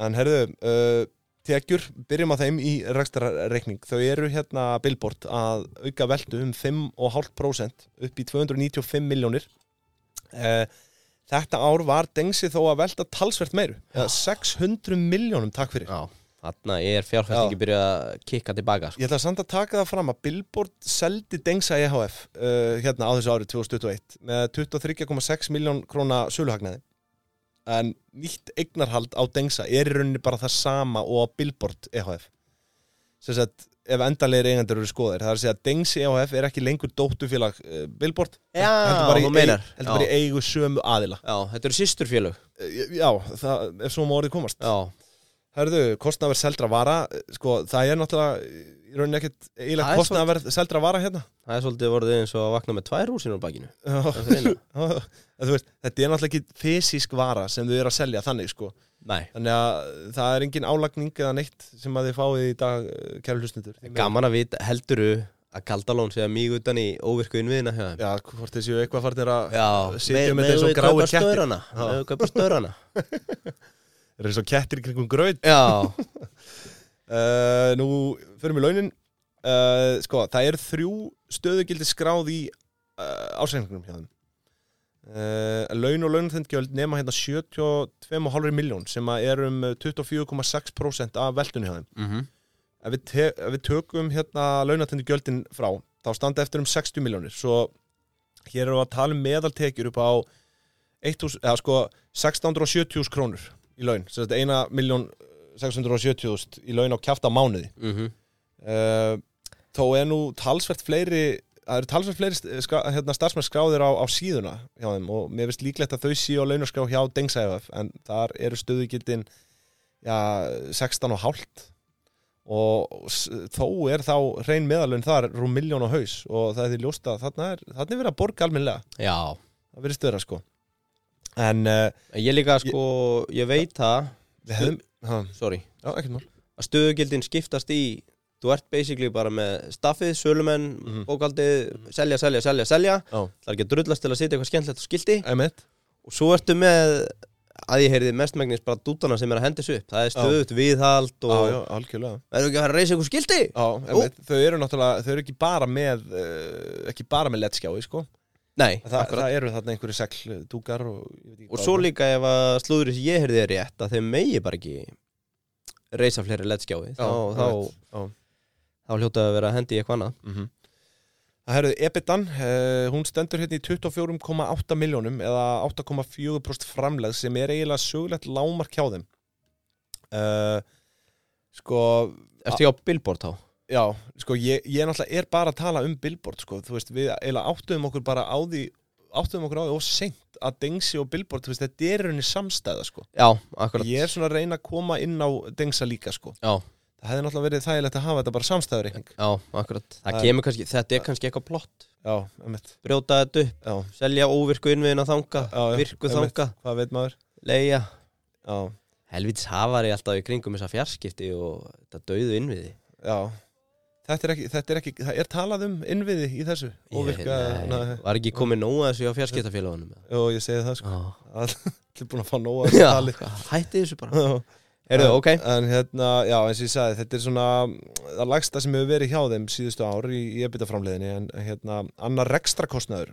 [SPEAKER 1] en herðu, uh, tekjur, byrjum að þeim í rekstrarreikning. Þau eru hérna Billboard að auka veldu um 5,5% upp í 295 miljónir. Uh, þetta ár var dengsi þó að velta talsvert meiru. Eða 600 miljónum, takk fyrir.
[SPEAKER 2] Já, þarna er fjárfæstingi
[SPEAKER 1] Já.
[SPEAKER 2] byrjað að kikka tilbaka sko.
[SPEAKER 1] Ég ætla samt að taka það fram að Billboard seldi Dengsa EHF uh, hérna á þessu árið 2021 með 23,6 miljón króna söluhagnaði en nýtt eignarhald á Dengsa er í rauninni bara það sama og á Billboard EHF sem sagt ef endanlegir eigendur eru skoðir það er að segja að Dengsi EHF er ekki lengur dóttufélag uh, Billboard
[SPEAKER 2] Já,
[SPEAKER 1] heldur bara,
[SPEAKER 2] Ah, þú
[SPEAKER 1] í,
[SPEAKER 2] meinar.
[SPEAKER 1] eig- heldur bara í eigu sömu aðila
[SPEAKER 2] Já, þetta eru sýsturfélög
[SPEAKER 1] uh, Já, það, ef svo má orðið komast
[SPEAKER 2] Já,
[SPEAKER 1] Herðu, kostnaverð seldra vara, sko, það er náttúrulega í rauninni ekkert
[SPEAKER 2] Það
[SPEAKER 1] eiginlega
[SPEAKER 2] er
[SPEAKER 1] kostnaverð seldra vara hérna.
[SPEAKER 2] það er svolítið voruð eins og að vakna með tvær húsinu á bakinu
[SPEAKER 1] En
[SPEAKER 2] reyna.
[SPEAKER 1] þú veist, þetta er náttúrulega ekki fysisk vara sem þau eru að selja þannig, sko.
[SPEAKER 2] Nei,
[SPEAKER 1] Þannig að það er engin álagning eða neitt sem að þið fáið í dag, kæru hlustundur.
[SPEAKER 2] gaman að vita, helduru að Kaldalón sé að mýg utan í óvirku innviðina hjá þeim
[SPEAKER 1] Já, hvort þið séu eitthvað farnir að
[SPEAKER 2] Já,
[SPEAKER 1] sitja með þessu gráir kettir.
[SPEAKER 2] störana
[SPEAKER 1] Já.
[SPEAKER 2] Meðum við kaupa störana
[SPEAKER 1] eru eins og kettir í kringum gröð.
[SPEAKER 2] Já,
[SPEAKER 1] Uh, nú, förum við launin. Uh, sko, það eru þrjú stöðugildi skráð í uh, ásækningunum hjá þeim. Uh, laun og launatendgjöld nema hérna 72,5 miljón sem að er um 24,6% af veltunni hjá þeim.
[SPEAKER 2] mhm
[SPEAKER 1] ef við, te, ef við tökum hérna launatendu gjöldin frá þá standa eftir um 60 miljónir svo hér erum við að tala um meðaltekjur upp á 1000 eða sko 1670 krónur í laun sem þetta eina miljón 670 í laun á kjafta mánuði
[SPEAKER 2] mhm.
[SPEAKER 1] uh, þó er nú talsvert fleiri það eru talsvert fleiri st- ska, hérna, starfsmenn skráðir á, á síðuna hjá þeim og mér finnst líklegt að þau séu á launaskrá hjá Dengsæfaf en þar eru stöðugildin já, 16 og hálft og s- þó er þá reyn meðalun þar rúm miljón á haus og það er því ljóst að þarna er, þarna er verið að borga almennlega
[SPEAKER 2] Já,
[SPEAKER 1] það verið stöðra sko en uh,
[SPEAKER 2] En ég líka sko, ég veit það
[SPEAKER 1] við hefum ha,
[SPEAKER 2] Sorry,
[SPEAKER 1] já, ekkert mál
[SPEAKER 2] að stöðugildin skiptast í Þú ert basically bara með staffið, sölumenn,
[SPEAKER 1] Mhm.
[SPEAKER 2] bókaldið, selja, selja, selja, selja
[SPEAKER 1] Já.
[SPEAKER 2] Það er ekki að drullast til að setja eitthvað skemmtilegt á skildi
[SPEAKER 1] Einmitt.
[SPEAKER 2] og svo ertu með að ég heyrði mestmægnis bara dútana sem er að henda þessu upp það er stöðut viðhald
[SPEAKER 1] já,
[SPEAKER 2] og
[SPEAKER 1] já, algjörlega
[SPEAKER 2] verður ekki að fara að reysa ykkur skildi
[SPEAKER 1] Já, einmitt, þau eru náttúrulega, þau eru ekki bara með uh, ekki bara með lettskjái, sko
[SPEAKER 2] nei,
[SPEAKER 1] Þa,
[SPEAKER 2] akkurat
[SPEAKER 1] Það eru þarna einhverju segldúkar og, ég veit ekki
[SPEAKER 2] og
[SPEAKER 1] hvað
[SPEAKER 2] svo líka ef að slúðurinn sem ég heyrði er rétt að þeim megi bara ekki reysa fleiri lettskjái þá, þá,
[SPEAKER 1] einmitt, já.
[SPEAKER 2] þá hljóta að vera að hendi í eitthvað annað
[SPEAKER 1] Mm -hmm. Það herðu, Ebitan, uh, hún stendur hérna í 24,8 miljónum eða 8,4% framlegð sem er eiginlega sögulegt lámark hjá þeim uh, Sko,
[SPEAKER 2] Ertu ekki á billboard þá?
[SPEAKER 1] já, sko ég, ég náttúrulega er bara að tala um Billboard, sko Þú veist, við eiginlega áttuðum okkur bara á því áttuðum okkur á því og seint að Dengsi og Billboard, þú veist, þetta er í rauninni samstæða, sko
[SPEAKER 2] Já, akkurat
[SPEAKER 1] Ég er svona að reyna að koma inn á Dengsa líka, sko
[SPEAKER 2] Já,
[SPEAKER 1] Það hefði náttúrulega verið þægilegt að hafa þetta bara samstæðurreikning
[SPEAKER 2] já, akkurat Það
[SPEAKER 1] Það-
[SPEAKER 2] kemur kannski, þetta er kannski eitthvað plott
[SPEAKER 1] Já, emmitt
[SPEAKER 2] Brjóta þetta upp,
[SPEAKER 1] Já,
[SPEAKER 2] selja óvirku innviðina þanga
[SPEAKER 1] Já, já,
[SPEAKER 2] Virku
[SPEAKER 1] einmitt.
[SPEAKER 2] þanga,
[SPEAKER 1] hvað veit maður?
[SPEAKER 2] leia
[SPEAKER 1] Já,
[SPEAKER 2] Helvitis hafari alltaf í kringum þessa fjarskipti og þetta dauðu innviði
[SPEAKER 1] já Þetta er ekki, þetta er ekki, það er talað um innviði í þessu Óvirka,
[SPEAKER 2] Ég- nei,
[SPEAKER 1] nei
[SPEAKER 2] Var ekki komið nóga þessu á fjarskiptafélagunum
[SPEAKER 1] Jó, ég segi það sko
[SPEAKER 2] oh.
[SPEAKER 1] Það er búin að fá nóg að þessu tali
[SPEAKER 2] Hætti þessu bara
[SPEAKER 1] Já.
[SPEAKER 2] Heyrðu, ok
[SPEAKER 1] En hérna, já, eins og ég sagði, þetta er svona það lagsta sem hefur verið hjá þeim síðustu ár í, í ebitaframleiðinni en hérna, annar rekstrakostnaður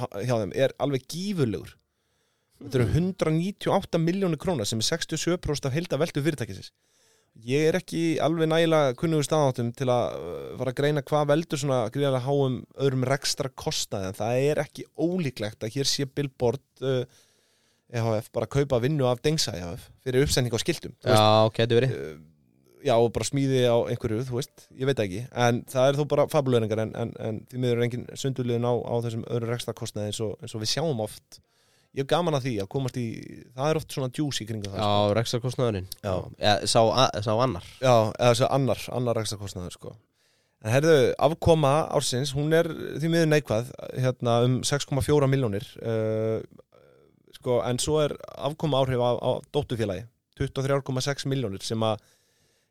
[SPEAKER 1] ha- hjá þeim er alveg gífurlegur Þetta eru 198 miljónu króna sem er 67% af heilda veldu fyrirtækisins Ég er ekki alveg nægilega kunnugur staðáttum til að uh, fara að greina hvað veldur svona gríðarlega háum öðrum rekstrakostnaði en það er ekki ólíklegt að hér sé Billboard uh, EHF bara kaupa vinnu af Dengsa EHF fyrir uppsending á skiltum þú veist,
[SPEAKER 2] Já, getur verið
[SPEAKER 1] uh, já, og bara smíði á einhverju, þú veist, ég veit það ekki en það er þó bara fabulöningar en, en, en því miður er engin sundurliðin á, á þessum öðru rekstakostnaði eins og, eins og við sjáum oft ég hef gaman að því að komast í það er oft svona djús í kringa það
[SPEAKER 2] Já, reksakostnaðurinn
[SPEAKER 1] Já.
[SPEAKER 2] Eða sá, a- sá annar
[SPEAKER 1] Já, eða þessi annar, annar rekstakostnaður sko. En herðu, afkoma ársins, hún er því miður neikvað hérna, um 6,4 milljónir uh, sko, en svo er afkoma áhrif á, á dóttufélagi 23,6 milljónir sem að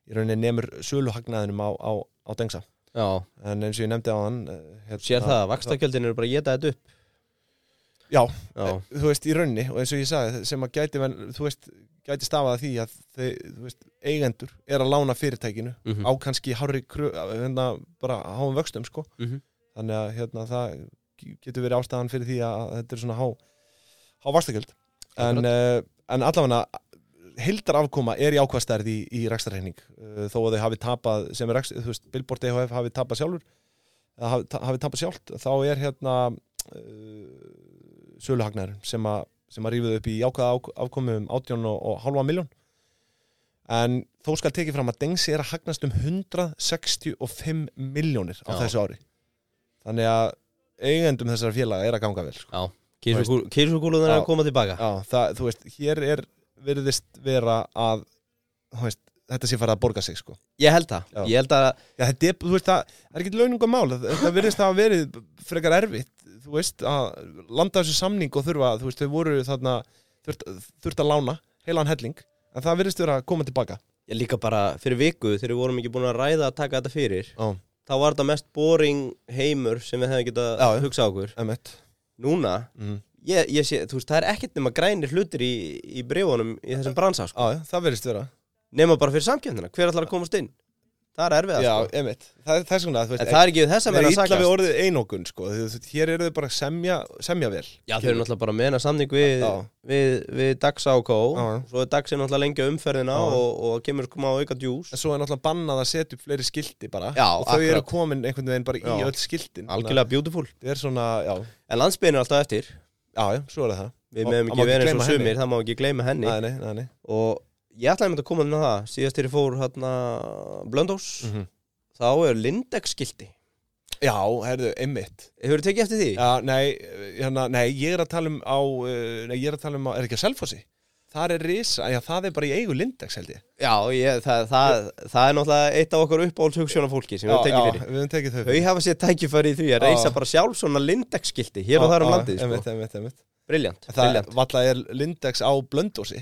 [SPEAKER 1] í rauninni nemur söluhagnaðinum á, á, á dengsa.
[SPEAKER 2] Já,
[SPEAKER 1] En eins og ég nefndi á hann hérna,
[SPEAKER 2] sér það, vakstakjöldin eru bara að geta þetta upp
[SPEAKER 1] Já,
[SPEAKER 2] Já,
[SPEAKER 1] eh, þú veist, í rauninni og eins og ég sagði, sem að gæti, vel- þú veist, gæti stafaða því að þau, þú veist, eigendur er að lána fyrirtækinu
[SPEAKER 2] mhm,
[SPEAKER 1] Eh, á kannski hárri krö, hérna, bara háum vöxtum sko.
[SPEAKER 2] mhm.
[SPEAKER 1] þannig að hérna, það getur verið ástæðan fyrir því að þetta er svona há, há vastakjöld en, uh, en allavega heildar afkoma er í ákvastærð í, í rekstarreining uh, þó að þau hafi tapað sem er, rekst- þú veist, Billboard EHF hafi tapað sjálfur eða hafi, ta- hafi tapað sjálft þá er hérna uh, söluhagnar sem að sem að rífið upp í ákvaða ák- afkomu um 18 og, og halva miljón en þó skal tekið fram að Dengsi er að hagnast um 165 miljónir á
[SPEAKER 2] Já.
[SPEAKER 1] þessu ári þannig að eigendum þessara félaga er að ganga vel sko.
[SPEAKER 2] Kirsukúlu- Kirsukúlunar er
[SPEAKER 1] Já.
[SPEAKER 2] að koma tilbaka
[SPEAKER 1] Já, það, þú veist, hér er virðist vera að þú veist, þetta sé farið að borga sig sko.
[SPEAKER 2] Ég held það,
[SPEAKER 1] Já.
[SPEAKER 2] ég held að
[SPEAKER 1] Já, þetta er, þú veist, það það er ekki launungum mál þetta virðist að hafa verið frekar erfitt þú veist, að landa þessu samning og þurfa, þú veist, þau voru þarna þurft, þurft að lána, heilan helling en það virðist vera að koma tilbaka
[SPEAKER 2] Ég líka bara fyrir viku þegar við vorum ekki búin að ræða að taka þetta fyrir
[SPEAKER 1] Já,
[SPEAKER 2] þá var þetta mest boring heimur sem við hefum getað
[SPEAKER 1] Já, já.
[SPEAKER 2] hugsað okkur
[SPEAKER 1] emmett
[SPEAKER 2] Núna,
[SPEAKER 1] mm.
[SPEAKER 2] ég, ég sé, þú veist, það er ekkert nema grænir hlutir í, í breifunum í þessum bransa, sko.
[SPEAKER 1] Já, já, það virðist vera
[SPEAKER 2] nema bara fyrir samkjöndina, hver ætlar að komast inn það er erfiðast,
[SPEAKER 1] Já,
[SPEAKER 2] sko.
[SPEAKER 1] emmett, það er þess vegna þú
[SPEAKER 2] en
[SPEAKER 1] veist,
[SPEAKER 2] það er ekki við þess að
[SPEAKER 1] það er
[SPEAKER 2] vera að
[SPEAKER 1] illa við
[SPEAKER 2] sakast
[SPEAKER 1] orðið einokun sko. Þú veist, hér eru þau bara að semja, semja vel
[SPEAKER 2] Já, þau eru náttúrulega bara að mena samning við,
[SPEAKER 1] Já.
[SPEAKER 2] við, við Daxa og Kó
[SPEAKER 1] Já, já.
[SPEAKER 2] svo er Daxi náttúrulega lengja umferðina
[SPEAKER 1] Já.
[SPEAKER 2] og, og kemur koma á auka djús
[SPEAKER 1] En svo er náttúrulega bannað að setja upp fleiri skildi bara
[SPEAKER 2] Já,
[SPEAKER 1] og þau eru
[SPEAKER 2] akkurat.
[SPEAKER 1] komin einhvern veginn bara í
[SPEAKER 2] Já.
[SPEAKER 1] öll skildin
[SPEAKER 2] algjörlega beautiful
[SPEAKER 1] Þannig að þetta er svona, já,
[SPEAKER 2] en landsbyrðin er alltaf eftir
[SPEAKER 1] já, já, svo er það
[SPEAKER 2] við
[SPEAKER 1] Og- það má ekki gleyma
[SPEAKER 2] meðum ekki verið eins og
[SPEAKER 1] henni.
[SPEAKER 2] sumir, það má ekki gleyma henni
[SPEAKER 1] Nei, nei, nei, nei.
[SPEAKER 2] og ég ætlaði einmitt að koma inn á það síðast þegar ég fór hérna Blöndós
[SPEAKER 1] Mhm.
[SPEAKER 2] þá er Lindex skilti
[SPEAKER 1] Já, herðu, einmitt
[SPEAKER 2] hefur þið tekið eftir því?
[SPEAKER 1] Já, nei, hérna, nei, ég er að tala um á uh, Nei, ég er að tala um á, er ekki að Selfossi? Þar er risa, já, það er bara í eigu Lindex held ég
[SPEAKER 2] Já, ég, það, það, það er náttúrulega eitt af okkur uppáhalds hugsunafólki sem við
[SPEAKER 1] já,
[SPEAKER 2] höfum tekið fyrir
[SPEAKER 1] við höfum tekið þau
[SPEAKER 2] Þau hafa sér tækifæri í því að
[SPEAKER 1] Já.
[SPEAKER 2] reysa bara sjálf svona Lindex-skilti hér og
[SPEAKER 1] Já,
[SPEAKER 2] þar um
[SPEAKER 1] já,
[SPEAKER 2] landið, sko.
[SPEAKER 1] Einmitt, einmitt, einmitt
[SPEAKER 2] Briljant,
[SPEAKER 1] Það
[SPEAKER 2] briljant.
[SPEAKER 1] valla er Lindex á Blöndósi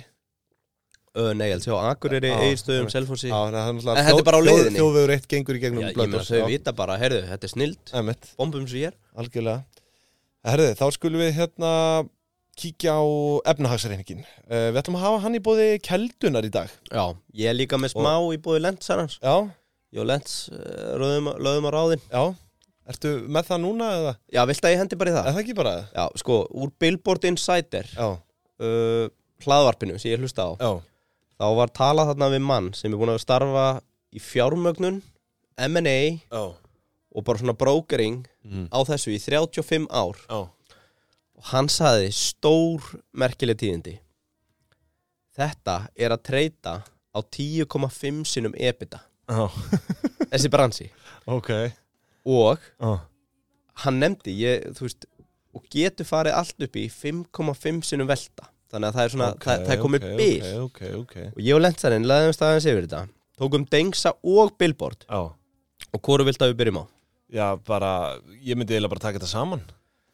[SPEAKER 2] Ö, Nei, ég held sjá, Akureyri,
[SPEAKER 1] Já,
[SPEAKER 2] Egilstöðum,
[SPEAKER 1] einmitt.
[SPEAKER 2] Selfossi.
[SPEAKER 1] Já, það er náttúrulega
[SPEAKER 2] En þetta er bara á leiðinni.
[SPEAKER 1] Þjóðvegur eitt gengur í
[SPEAKER 2] Já,
[SPEAKER 1] gegnum
[SPEAKER 2] ég meina
[SPEAKER 1] Blönduós,
[SPEAKER 2] þau
[SPEAKER 1] já.
[SPEAKER 2] vita bara, heyrðu, þetta er snild,
[SPEAKER 1] Einmitt
[SPEAKER 2] bombum svo hér.
[SPEAKER 1] algjörlega. Herði, þá skulum við hérna kíkja á efnahagsreiningin. Uh, við ætlum að hafa hann í bóði keldunar í dag.
[SPEAKER 2] Já, ég er líka með smá í búið Lents annars.
[SPEAKER 1] Já,
[SPEAKER 2] Jó, eh, Lents, lögum, lögum á ráðin.
[SPEAKER 1] já. Ertu með það núna eða?
[SPEAKER 2] Já, vilt að ég hendi bara
[SPEAKER 1] Er
[SPEAKER 2] í það?
[SPEAKER 1] það ekki bara það?
[SPEAKER 2] Já, sko, úr Billboard Insider,
[SPEAKER 1] Já,
[SPEAKER 2] uh, hlaðvarpinu sem ég hlusta á,
[SPEAKER 1] já,
[SPEAKER 2] þá var talað þarna við mann sem er búin að starfa í fjármögnun, M&A
[SPEAKER 1] já,
[SPEAKER 2] og bara svona brokering
[SPEAKER 1] Mm.
[SPEAKER 2] á þessu í 35 ár.
[SPEAKER 1] já.
[SPEAKER 2] og hann saði stór merkileg tíðindi þetta er að treyta á 10,5 sinum EBITDA þessi bransi
[SPEAKER 1] ok.
[SPEAKER 2] og
[SPEAKER 1] Já,
[SPEAKER 2] hann nefndi ég, þú veist, og getur farið allt upp í 5,5 sinum velta þannig að það er svona, það, það er komið
[SPEAKER 1] okay,
[SPEAKER 2] bil
[SPEAKER 1] Ok, ok, ok.
[SPEAKER 2] og ég og Lentzarinn laðum staðins yfir þetta tókum Dengsa og Billboard
[SPEAKER 1] Já.
[SPEAKER 2] og hvoru vilt að við byrjum á
[SPEAKER 1] Já, bara, ég myndi eiginlega bara taka þetta saman.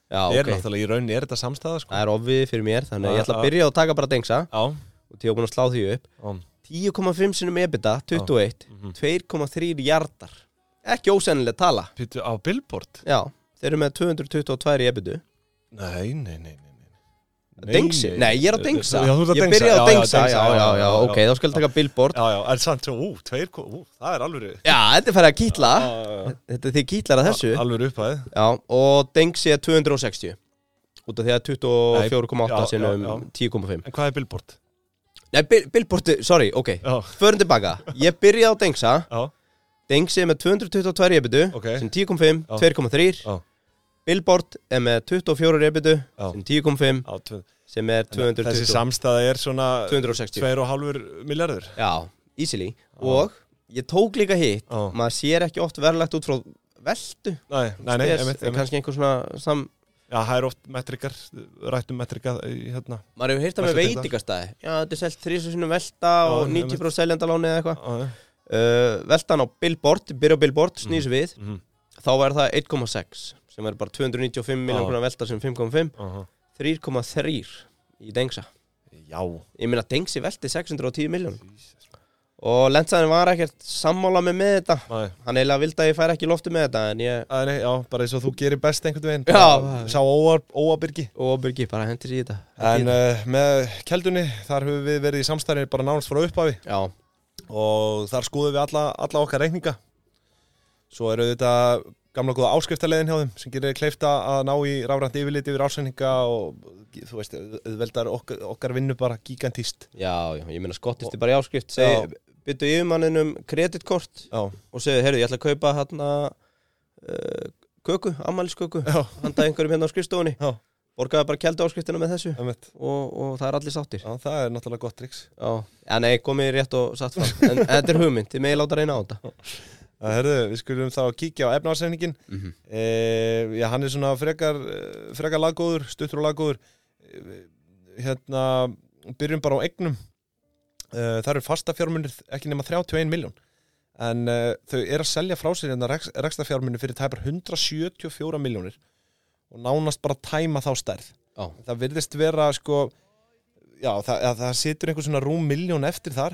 [SPEAKER 2] já,
[SPEAKER 1] Er
[SPEAKER 2] ok,
[SPEAKER 1] náttúrulega, í rauninni er þetta samstæða, sko.
[SPEAKER 2] það er ofviði fyrir mér þannig að ég ætla
[SPEAKER 1] Ah,
[SPEAKER 2] að byrja á að taka bara Dengsa
[SPEAKER 1] Já,
[SPEAKER 2] og til ég er búin að slá því upp
[SPEAKER 1] já.
[SPEAKER 2] 10,5 sinum
[SPEAKER 1] Ah,
[SPEAKER 2] EBITDA 21
[SPEAKER 1] mhm.
[SPEAKER 2] 2,3 jardar ekki ósennileg tala
[SPEAKER 1] Pýttu á billboard?
[SPEAKER 2] já, þeir eru með 222 í EBITDA
[SPEAKER 1] Nei, nei, nei, nei. nei.
[SPEAKER 2] Dengsi, nei ég er að dengsa
[SPEAKER 1] Já, þú ert að
[SPEAKER 2] ég byrja
[SPEAKER 1] dengsa. Já, já,
[SPEAKER 2] á dengsa, já,
[SPEAKER 1] dengsa,
[SPEAKER 2] já, já,
[SPEAKER 1] já, já,
[SPEAKER 2] ok,
[SPEAKER 1] já.
[SPEAKER 2] þá skal ég taka billboard
[SPEAKER 1] Já, já, en samt svo, ú, tveir, ko- ú, það er alveg
[SPEAKER 2] já, þetta er færið að kýtla
[SPEAKER 1] Já,
[SPEAKER 2] þetta er þið kýtlar að þessu
[SPEAKER 1] Alveg upphæð
[SPEAKER 2] já, og dengsi er 260 út af því að 24,8
[SPEAKER 1] Nei, já,
[SPEAKER 2] sinum
[SPEAKER 1] já, já.
[SPEAKER 2] 10,5
[SPEAKER 1] En hvað er billboard?
[SPEAKER 2] nei, bill- billboard, sorry, ok
[SPEAKER 1] Já,
[SPEAKER 2] förum tilbaka, ég byrja á dengsa
[SPEAKER 1] já,
[SPEAKER 2] Dengsi er með 222 rebitu
[SPEAKER 1] Ok.
[SPEAKER 2] sem 10.5,
[SPEAKER 1] Já.
[SPEAKER 2] 2.3
[SPEAKER 1] Já.
[SPEAKER 2] Billboard er með 24 rebitu
[SPEAKER 1] Já.
[SPEAKER 2] sem 10.5,
[SPEAKER 1] já tvö-
[SPEAKER 2] sem er 220
[SPEAKER 1] Þessi samstæða er svona
[SPEAKER 2] 260
[SPEAKER 1] 2,5 miljardur
[SPEAKER 2] Já, easily Og ég tók líka hitt
[SPEAKER 1] Já.
[SPEAKER 2] Maður sér ekki oft verðlegt út frá veltu
[SPEAKER 1] Nei, nei, nei,
[SPEAKER 2] Spes,
[SPEAKER 1] einmitt,
[SPEAKER 2] er
[SPEAKER 1] einmitt.
[SPEAKER 2] Kannski einhver svona sam
[SPEAKER 1] Já, það er oft metrikar, rættum metrika í hérna
[SPEAKER 2] Maður hefur heyrt það með
[SPEAKER 1] Versla deildar.
[SPEAKER 2] veitingastæði Já, þetta er selt þrísu sinum velta
[SPEAKER 1] Já,
[SPEAKER 2] og
[SPEAKER 1] einmitt.
[SPEAKER 2] 90% seljandaláni eða eitthvað
[SPEAKER 1] Já, já.
[SPEAKER 2] uh, Veltan á billboard, byrja á billboard, snýs við
[SPEAKER 1] Mhm.
[SPEAKER 2] Þá er það 1,6 sem er bara 295 miljón
[SPEAKER 1] Já.
[SPEAKER 2] grunna velta sem 5,5
[SPEAKER 1] Aha.
[SPEAKER 2] 3,3 í dengsa
[SPEAKER 1] Já
[SPEAKER 2] Ég meina dengsi velti 610 miljón Og Lensaðin var ekkert sammála með með þetta
[SPEAKER 1] Nei,
[SPEAKER 2] Hann eiginlega vildi að ég fær ekki í lofti með þetta En ég
[SPEAKER 1] Æ, nei, já, bara eins og þú gerir best einhvern veginn
[SPEAKER 2] Já.
[SPEAKER 1] Bara Sá óar- óábyrgi
[SPEAKER 2] og Óbyrgi bara hendir í þetta
[SPEAKER 1] En
[SPEAKER 2] Hendir í
[SPEAKER 1] uh, með keldunni, þar höfum við verið í samstæðinni bara nánast frá upphafi
[SPEAKER 2] þetta. Já,
[SPEAKER 1] og þar skoðum við alla, alla okkar reikninga Svo eru þetta gamla góða áskriftaleiðin hjá þeim sem gerir kleifta að ná í rafrænt yfirlit yfir ásreininga og þú veist, auðveldar okkar, okkar vinnu bara gigantíst
[SPEAKER 2] já, já, ég meina skottist þið bara í áskrift
[SPEAKER 1] Já.
[SPEAKER 2] segi, Byttu yfirmanninum kreditkort
[SPEAKER 1] Já,
[SPEAKER 2] og segðu, heyrðu, ég ætla að kaupa hérna uh, köku, ammælisköku
[SPEAKER 1] já,
[SPEAKER 2] handa einhverjum hérna á skrifstofunni
[SPEAKER 1] Já.
[SPEAKER 2] Borgaði bara keldu áskriftina með þessu og,
[SPEAKER 1] einmitt.
[SPEAKER 2] og það er allir sáttir Já,
[SPEAKER 1] já, það er náttúrulega gott triks
[SPEAKER 2] já nei, komið rétt og satt fram En en þetta er hugmynd, þið megið láta reyna á þetta
[SPEAKER 1] Það herðu, við skulum þá kíkja á efnarsefningin
[SPEAKER 2] mm -hmm.
[SPEAKER 1] e, Já, hann er svona frekar, eh, frekar laggóður, stuttur og laggóður e, Hérna, byrjum bara á egnum e, Það eru fasta fjármunir ekki nema 31 miljón En e, þau eru að selja frá sér hérna reksta fjármunir fyrir tæpar 174 miljónir Og nánast bara tæma þá stærð
[SPEAKER 2] Já.
[SPEAKER 1] Það virðist vera sko Já, það, að, það situr einhver svona rúm miljón eftir þar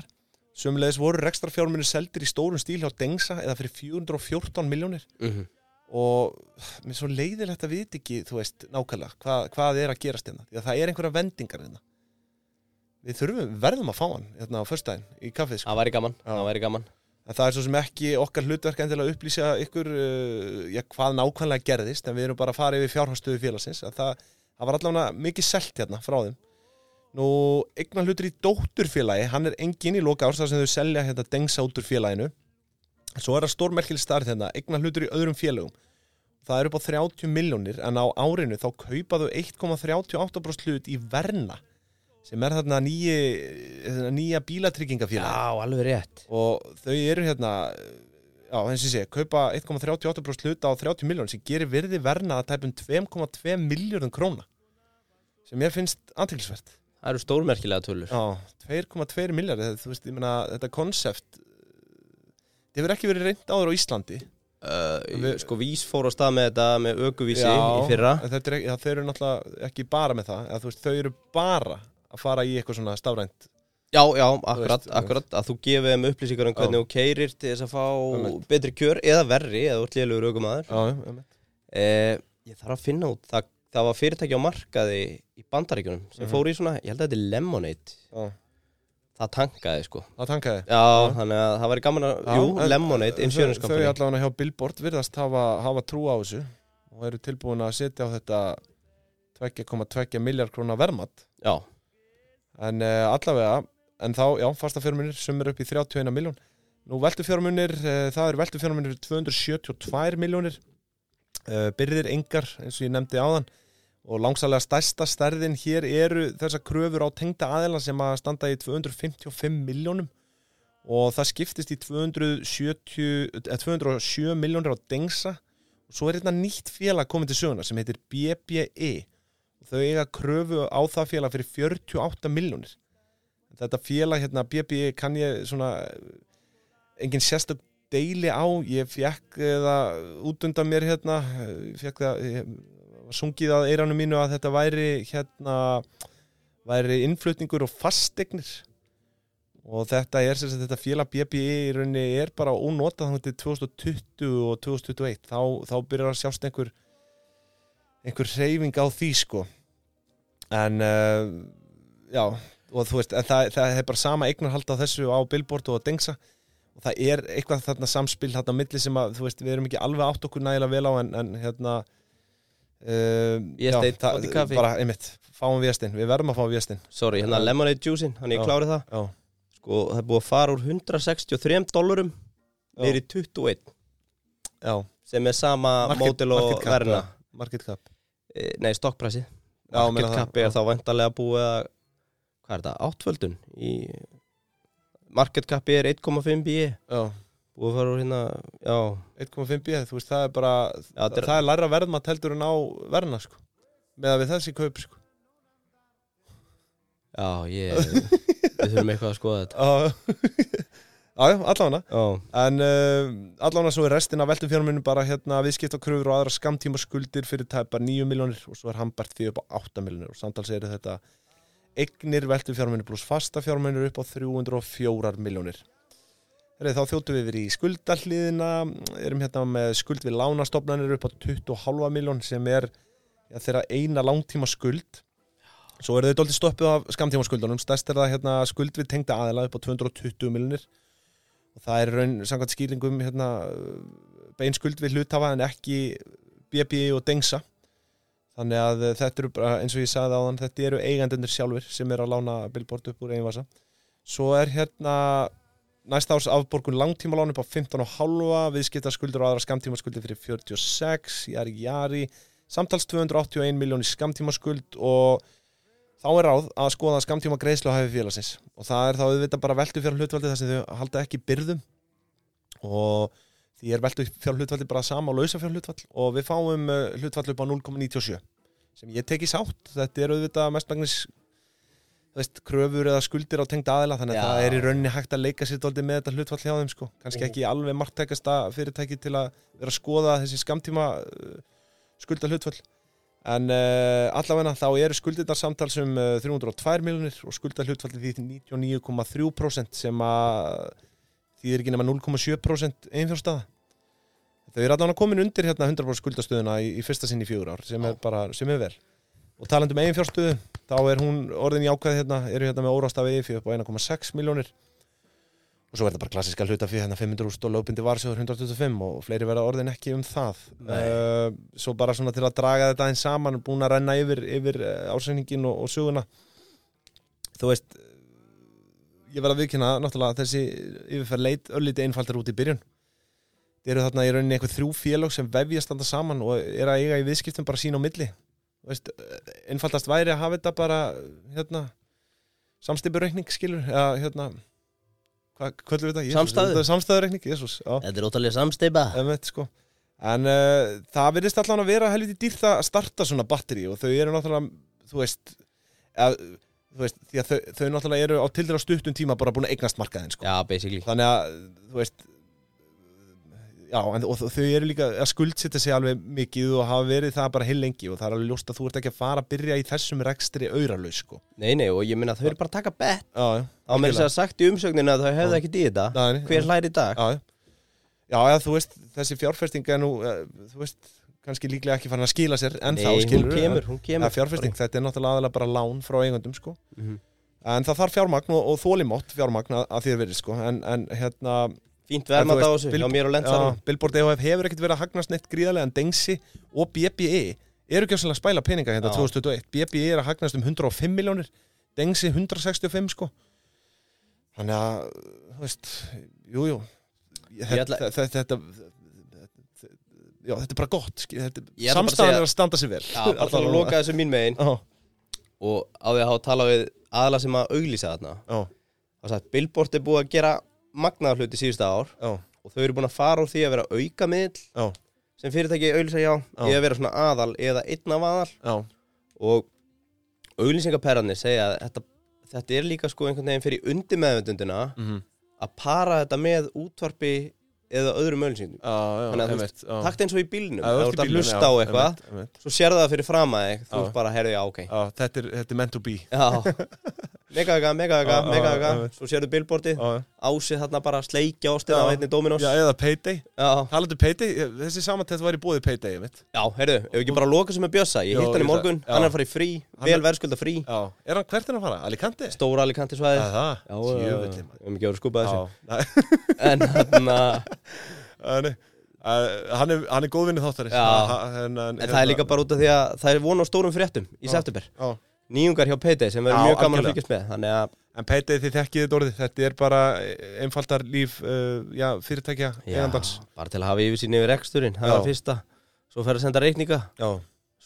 [SPEAKER 1] Sumleðis voru rekstra fjármunir seldir í stórum stíl hjá Dengsa eða fyrir 414 miljónir og mér er svo leiðilegt að vita ekki þú veist nákvæmlega hvað, hvað er að gerast hérna því að það er einhverja vendingar hérna við þurfum, verðum að fá hann hérna á förstæðin í kaffið sko.
[SPEAKER 2] Það væri gaman,
[SPEAKER 1] Já.
[SPEAKER 2] það væri gaman
[SPEAKER 1] en það er svo sem ekki okkar hlutverk endilega að upplýsa ykkur uh, já, hvað nákvæmlega gerðist en við erum bara að fara yfir fjárhastuðu félagsins að það, það var allavega mikið selt hérna frá þeim nú eignar hlutur í dótturfélagi hann er engin í loka árs þar sem þau selja hérna dengsa út úr félaginu svo er það stórmerkileg starf hérna eignar hlutur í öðrum félagum það er upp á 30 milljónir en á árinu þá kaupa þau 1,38% hlut í verna sem er þarna nýja, nýja bílatryggingafélag
[SPEAKER 2] alveg rétt
[SPEAKER 1] og þau eru hérna já, eins og sé, kaupa 1,38% hluta á 30 miljónum sem gerir virði verna að tæpum 2,2 miljónum króna sem ég finnst antiklisvert
[SPEAKER 2] Það eru stórmerkilega tölur
[SPEAKER 1] já, 2,2 miljónum þú veist, ég meina, þetta konsept það hefur ekki verið reynd áður á Íslandi
[SPEAKER 2] uh,
[SPEAKER 1] Við-
[SPEAKER 2] Sko Vís fór á stað með þetta með ökuvísi
[SPEAKER 1] Já,
[SPEAKER 2] í fyrra
[SPEAKER 1] en þetta er, ekki- já, þau eru náttúrulega ekki bara með það eða, þú veist, þau eru bara að fara í eitthvað svona stafrænt
[SPEAKER 2] Já, já, akkurat,
[SPEAKER 1] veist,
[SPEAKER 2] akkurat að þú gefið þeim upplýsingar um
[SPEAKER 1] Já.
[SPEAKER 2] hvernig þú keirir til þess að fá
[SPEAKER 1] Einmitt.
[SPEAKER 2] betri kjör eða verri eða útlélugur aukumæður
[SPEAKER 1] já, um,
[SPEAKER 2] eh, Ég þarf að finna út það, það var fyrirtæki á markaði í bandaríkjunum sem
[SPEAKER 1] Mhm.
[SPEAKER 2] fór í svona, ég held að þetta er Lemonade
[SPEAKER 1] já,
[SPEAKER 2] það tankaði sko Já,
[SPEAKER 1] það tankaði
[SPEAKER 2] þannig að það væri gaman að,
[SPEAKER 1] Já,
[SPEAKER 2] jú,
[SPEAKER 1] en-
[SPEAKER 2] Lemonade,
[SPEAKER 1] Þau- Þau
[SPEAKER 2] insuranskampani
[SPEAKER 1] allavega hjá Billboard virðast hafa, hafa trú á þessu og eru tilbúin að setja á þetta 2,2 miljard krónar vermat
[SPEAKER 2] Já,
[SPEAKER 1] en uh, allavega, en þá, já, fasta fjörmunir sem eru upp í 31 miljón Nú veltu fjörmunir, uh, það eru veltu fjörmunir 272 miljónir uh, byrðir engar, eins og ég nefndi áðan og langsalega stærsta stærðin hér eru þessar kröfur á tengda aðeila sem að standa í 255 miljónum og það skiptist í 270, eh, 207 miljónir á dengsa og svo er hérna nýtt félag komið til söguna sem heitir E. BBE og þau eiga kröfu á það félag fyrir 48 miljónir þetta félag hérna BBE kann ég svona eh, engin sérstök deili á ég fekk eh, það út undan mér hérna eh, ég fekk það ég var sungið að eiranu mínu að þetta væri hérna væri innflutningur og fastegnir og þetta er sem sagt þetta félag BBE í rauninni er bara ónotað þannig til 2020 og 2021 þá, þá byrjar að sjást einhver einhver hreyfing á því sko en uh, já og þú veist, en það, það er bara sama eignarhald á þessu á Billboard og á Dengsa og það er eitthvað þarna samspil þarna á milli sem að, þú veist, við erum ekki alveg átt okkur nægilega vel á en, en hérna uh,
[SPEAKER 2] Ég steinn,
[SPEAKER 1] það-
[SPEAKER 2] fáðu kaffi.
[SPEAKER 1] bara einmitt, fáum viðastinn, við verðum að fá viðastinn
[SPEAKER 2] sorry, hérna
[SPEAKER 1] Já.
[SPEAKER 2] Lemonade juicein, hann ég
[SPEAKER 1] Já.
[SPEAKER 2] klári það
[SPEAKER 1] já,
[SPEAKER 2] Sko, það er búið að fara úr 163 dólarum
[SPEAKER 1] Já.
[SPEAKER 2] niður í 21
[SPEAKER 1] já
[SPEAKER 2] sem er sama
[SPEAKER 1] Market-
[SPEAKER 2] mótil og
[SPEAKER 1] market cap,
[SPEAKER 2] verna
[SPEAKER 1] market cap
[SPEAKER 2] Eh, Nei, stokkpræsi
[SPEAKER 1] Já, meina
[SPEAKER 2] market
[SPEAKER 1] það.
[SPEAKER 2] capi er þá vantarlega búið að hvað er þetta, áttföldun í market capi er 1,5 BE
[SPEAKER 1] Já,
[SPEAKER 2] búið að fara úr hérna, já
[SPEAKER 1] 1,5 bíð, þú veist, það er bara
[SPEAKER 2] Já, þetta
[SPEAKER 1] það,
[SPEAKER 2] er-
[SPEAKER 1] er læra verðmatt heldur en á verðna sko. með að við þessi kaup sko.
[SPEAKER 2] já, ég við þurfum eitthvað að skoða þetta
[SPEAKER 1] Já, já, allavega
[SPEAKER 2] já,
[SPEAKER 1] En uh, allavega svo er restin af veltum fjármunum bara hérna viðskipta kröfur og aðra skamtíma skuldir fyrir tæpar 9 miljónir og svo er hann bært því upp á 8 miljónir og samtals eru þetta eignir veltum fjármunum pluss fasta fjármunir upp á 304 miljónir. Herri, Þá þjóttum við yfir í skuldalliðina, erum hérna með skuld við lánastofnanir upp á 20,5 miljón sem er ja, þeirra eina langtíma skuld. Svo eru þau dóltið stoppuð af skamtíma skuldunum, stærst er það hérna skuld við tengda aðila upp á 220 miljónir og það er í raun samkvæmt skýlingum hérna, beinskuld við hluthafa en ekki BB og Dengsa þannig að eh, þetta eru bara eins og ég sagði áðan þetta eru eigendunir sjálfur sem eru að lána billboard upp úr einvasa svo er hérna næsta árs afborgun langtímalán upp á 15,5 viðskiptaskuldur og aðra skamtímaskuldur fyrir 46, jari jari samtals 281 miljón í skamtímaskuld og þá er ráð að skoða skamtíma greiðslu á hæfi félagsins og það er þá auðvitað bara veltu fjár hlutvaldi þar sem þau halda ekki byrðum og því er veltu fjár hlutvaldi bara sama og lausa fjár hlutvall og við fáum eh, hlutvall upp á 0,97 sem ég teki sátt, þetta er auðvitað mestmagnis þú veist, kröfur eða skuldir á tengd aðila þannig að
[SPEAKER 2] Já.
[SPEAKER 1] það er í rauninni hægt að leika sér dóldi með þetta hlutvall hjá þeim sko kannski
[SPEAKER 2] Mhm.
[SPEAKER 1] ekki alveg marktækasta fyrirtæki til að vera að skoða þessi skamtíma skulda hlutvall en uh, allavegna þá eru skuldirnar samtals um uh, 302 miljonir og skulda hlutfallið því 99,3% sem að því er ekki nema 0,7% einfjárstaða þau eru allavega komin undir hérna 100% skuldastöðuna í, í fyrsta sinn í fjögur ár sem er bara, sem er vel og talandi um einfjárstöðu þá er hún orðin jákvæð hérna, eru hérna með órástafi EIFI upp á 1,6 miljónir og svo verður bara klassiska hlutafið hérna 500 úrst og lögbindi varsjóður 125 og fleiri verða orðin ekki um það
[SPEAKER 2] Nei.
[SPEAKER 1] uh, svo bara svona til að draga þetta einn saman búin að renna yfir, yfir eh, ársreikninginn og, og söguna þú veist eh, ég verð að viðkynna náttúrulega að þessi yfirferð leit öllítið einfaldar út í byrjun þeir eru þarna í rauninni eitthvað þrjú félög sem vefja standa saman og er að eiga í viðskiptum bara sín á milli Þú veist, einfaldast væri að hafa þetta bara hérna, samstipurreikning skilur eða hérna hvað kvöldu við þetta? Jesús,
[SPEAKER 2] Samstæður.
[SPEAKER 1] þetta er Samstæðureikning, jésús
[SPEAKER 2] þetta er ótalega samsteipa
[SPEAKER 1] sko. en uh, það virðist allan að vera helviti dýrt að starta svona batteri og þau eru náttúrulega þú veist, að, þú veist því að þau, þau náttúrulega eru á tildur á stuttum tíma bara búin að eignast markaðin sko.
[SPEAKER 2] já, basically
[SPEAKER 1] þannig að þú veist já, en, og þau eru líka að skuldsetja sig alveg mikið og hafa verið það bara heil lengi og það er alveg ljóst að þú ert ekki að fara að byrja í þessum rekstri auralaus sko.
[SPEAKER 2] nei, nei, og ég minna að þau eru bara að taka bet
[SPEAKER 1] já, já,
[SPEAKER 2] þá með þess að segja sagt í umsögninu að þau hefðu
[SPEAKER 1] Já.
[SPEAKER 2] ekki í þetta
[SPEAKER 1] Nei, nei,
[SPEAKER 2] hver hlær í dag?
[SPEAKER 1] já, já. já, já, þú veist þessi fjárfesting er nú eh, þú veist, kannski líklega ekki farin að skila sér en þá
[SPEAKER 2] nei, hún
[SPEAKER 1] skilur
[SPEAKER 2] kemur, hún kemur
[SPEAKER 1] fjárfesting, þetta er náttúrulega aðalega bara lán frá eigundum sko
[SPEAKER 2] Mhm.
[SPEAKER 1] en það þarf fjármagn og, og þólimótt fjármagn að, að því er verið sko en, en hérna
[SPEAKER 2] fínt
[SPEAKER 1] En þú
[SPEAKER 2] verðmat á
[SPEAKER 1] veist,
[SPEAKER 2] þessu,
[SPEAKER 1] Bill-
[SPEAKER 2] hjá mér og
[SPEAKER 1] Já,
[SPEAKER 2] lendsarum
[SPEAKER 1] Billboard EHF hefur ekkert verið að hagnast neitt gríðarlega en Dengsi og BBE eru ekki að spæla peninga hérna
[SPEAKER 2] Já.
[SPEAKER 1] 2021 BBE er að hagnast um 105 miljónir Dengsi 165 sko þannig að þú veist, jújú jú.
[SPEAKER 2] Ég
[SPEAKER 1] þetta,
[SPEAKER 2] ætla-
[SPEAKER 1] þetta, þetta, þetta já, þetta er bara gott skil- þetta-
[SPEAKER 2] Ég ætla bara að
[SPEAKER 1] samstaðan
[SPEAKER 2] segja-
[SPEAKER 1] er að standa sér vel
[SPEAKER 2] já, bara til að
[SPEAKER 1] Allavega.
[SPEAKER 2] loka þessu mín megin
[SPEAKER 1] Já,
[SPEAKER 2] og á því að hafa talað við aðla sem að auglýsa þarna
[SPEAKER 1] já,
[SPEAKER 2] og sagt, Billboard er búið að gera magnaðar hluti síðustu ár
[SPEAKER 1] já,
[SPEAKER 2] og þau eru búin að fara úr því að vera auka miðl
[SPEAKER 1] já,
[SPEAKER 2] sem fyrirtæki auglýsa já,
[SPEAKER 1] Já.
[SPEAKER 2] já. eða vera svona aðal eða einn af aðal
[SPEAKER 1] já,
[SPEAKER 2] og auglýsingaperrarnir segja að þetta, þetta er líka sko einhvern veginn fyrir undirmeðvendundina
[SPEAKER 1] Mhm.
[SPEAKER 2] að para þetta með útvarpi eða öðrum auglýsingum
[SPEAKER 1] já, já,
[SPEAKER 2] Þannig að þú
[SPEAKER 1] einmitt, já.
[SPEAKER 2] takt eins og í bílnum,
[SPEAKER 1] Já, þú ert í
[SPEAKER 2] ef þú ert að
[SPEAKER 1] bílnum,
[SPEAKER 2] hlusta
[SPEAKER 1] já,
[SPEAKER 2] á eitthvað
[SPEAKER 1] einmitt, einmitt.
[SPEAKER 2] svo sérðu það fyrir frama þig, þú
[SPEAKER 1] Já.
[SPEAKER 2] ert bara að herði á, ok
[SPEAKER 1] Já, þetta er þetta er meant to be
[SPEAKER 2] Já, megavega,
[SPEAKER 1] Já,
[SPEAKER 2] megavega,
[SPEAKER 1] já, já,
[SPEAKER 2] megavega
[SPEAKER 1] já.
[SPEAKER 2] Svo sérðu billboardið,
[SPEAKER 1] Já, já.
[SPEAKER 2] ásið þarna bara sleikja ástið á
[SPEAKER 1] Já.
[SPEAKER 2] einni Dominos
[SPEAKER 1] Já,
[SPEAKER 2] Já,
[SPEAKER 1] eða payday
[SPEAKER 2] já,
[SPEAKER 1] Talandi um Payday, þessi samantætt var í búið Payday, ég veit.
[SPEAKER 2] heyrðu, ef við ekki bara loka sem er Bjössa Ég
[SPEAKER 1] Jó,
[SPEAKER 2] hitt hann
[SPEAKER 1] ég
[SPEAKER 2] í morgun,
[SPEAKER 1] ætla- já.
[SPEAKER 2] hann er að fara í frí,
[SPEAKER 1] Hann
[SPEAKER 2] vel
[SPEAKER 1] er-
[SPEAKER 2] verðskulda frí
[SPEAKER 1] Já. Er hann hvert en að fara? Alicante?
[SPEAKER 2] Stóra alikanti svæði
[SPEAKER 1] Það, það. Djöfulli, maður.
[SPEAKER 2] um ekki að vera skúpað
[SPEAKER 1] Já.
[SPEAKER 2] þessu
[SPEAKER 1] Nei,
[SPEAKER 2] En þarna,
[SPEAKER 1] hann er- uh, Hann er, hann er góðvinni þáttari.
[SPEAKER 2] Já.
[SPEAKER 1] En, en,
[SPEAKER 2] en það er líka bara út af því að það er von á stórum fréttum í september
[SPEAKER 1] Já.
[SPEAKER 2] Nýjungar hjá Payday sem
[SPEAKER 1] Já,
[SPEAKER 2] verður mjög gaman að
[SPEAKER 1] algjörlega.
[SPEAKER 2] fylgjast með Þannig að,
[SPEAKER 1] En Payday þið þekkið þetta orðið. Þetta er bara eh, einfaldar líf uh, já, fyrirtækja
[SPEAKER 2] já,
[SPEAKER 1] eigandans.
[SPEAKER 2] bara til að hafa yfir sín yfir reksturinn, það
[SPEAKER 1] Já.
[SPEAKER 2] var fyrsta Svo fer að senda reikninga,
[SPEAKER 1] Já.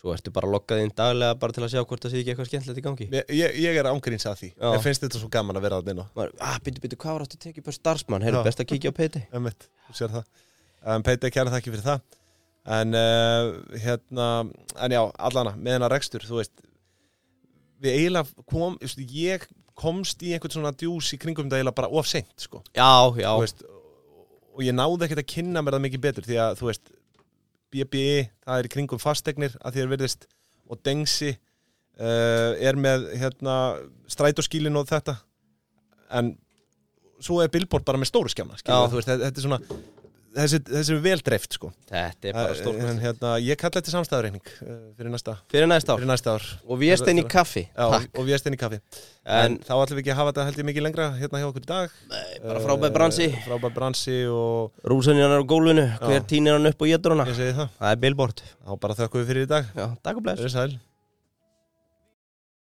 [SPEAKER 2] Svo ertu bara loggað inn daglega bara til að sjá hvort það sé ekki eitthvað skemmtilegt í gangi
[SPEAKER 1] Ég, ég, ég er ángríns að því
[SPEAKER 2] Já.
[SPEAKER 1] Ég finnst þetta svo gaman að vera þarna inn á
[SPEAKER 2] Maður, ah, byttu, byttu, hvað var áttu tekið bara starfsmann? Heyrðu,
[SPEAKER 1] Já.
[SPEAKER 2] best að kíkja á peiti
[SPEAKER 1] Emmett, þú sér það En Peiti, kæra þakki fyrir það En uh, hérna En já, allana, með hennar rekstur, þú veist Við eiginlega kom þú veist, Ég komst í einhvern svona djús í kringum þetta eiginlega bara of seint, sko
[SPEAKER 2] Já, já,
[SPEAKER 1] Þú veist, Og ég náði ekkert að kynna mér það mikið betur Því að, þú veist BBI, það er í kringum fastegnir að því er virðist og Dengsi uh, er með hérna, strætóskílin og þetta en svo er Billboard bara með stóru skjána
[SPEAKER 2] Já.
[SPEAKER 1] veist, þetta þetta er svona þessi, þessi er vel dreift sko
[SPEAKER 2] þetta er bara
[SPEAKER 1] en,
[SPEAKER 2] stórkvæmt
[SPEAKER 1] hérna, ég kalla þetta samstæðurreikning uh, fyrir næsta,
[SPEAKER 2] Fyrir næsta ár
[SPEAKER 1] fyrir næsta ár
[SPEAKER 2] Og við erum stein í kaffi
[SPEAKER 1] Já, og,
[SPEAKER 2] Takk
[SPEAKER 1] og við erum stein í kaffi en,
[SPEAKER 2] En
[SPEAKER 1] þá ætlum við ekki að hafa þetta held ég mikið lengra hérna hjá okkur í dag
[SPEAKER 2] Nei, bara frábæð bransi
[SPEAKER 1] Eh, frábær bransi og
[SPEAKER 2] Rúsaninn er á gólfinu, hver
[SPEAKER 1] Já.
[SPEAKER 2] tínir hann upp og getur hana
[SPEAKER 1] ég segi það
[SPEAKER 2] Það er billboard
[SPEAKER 1] þá bara þökkum við fyrir í dag,
[SPEAKER 2] Já, takk og bless
[SPEAKER 1] verið sæl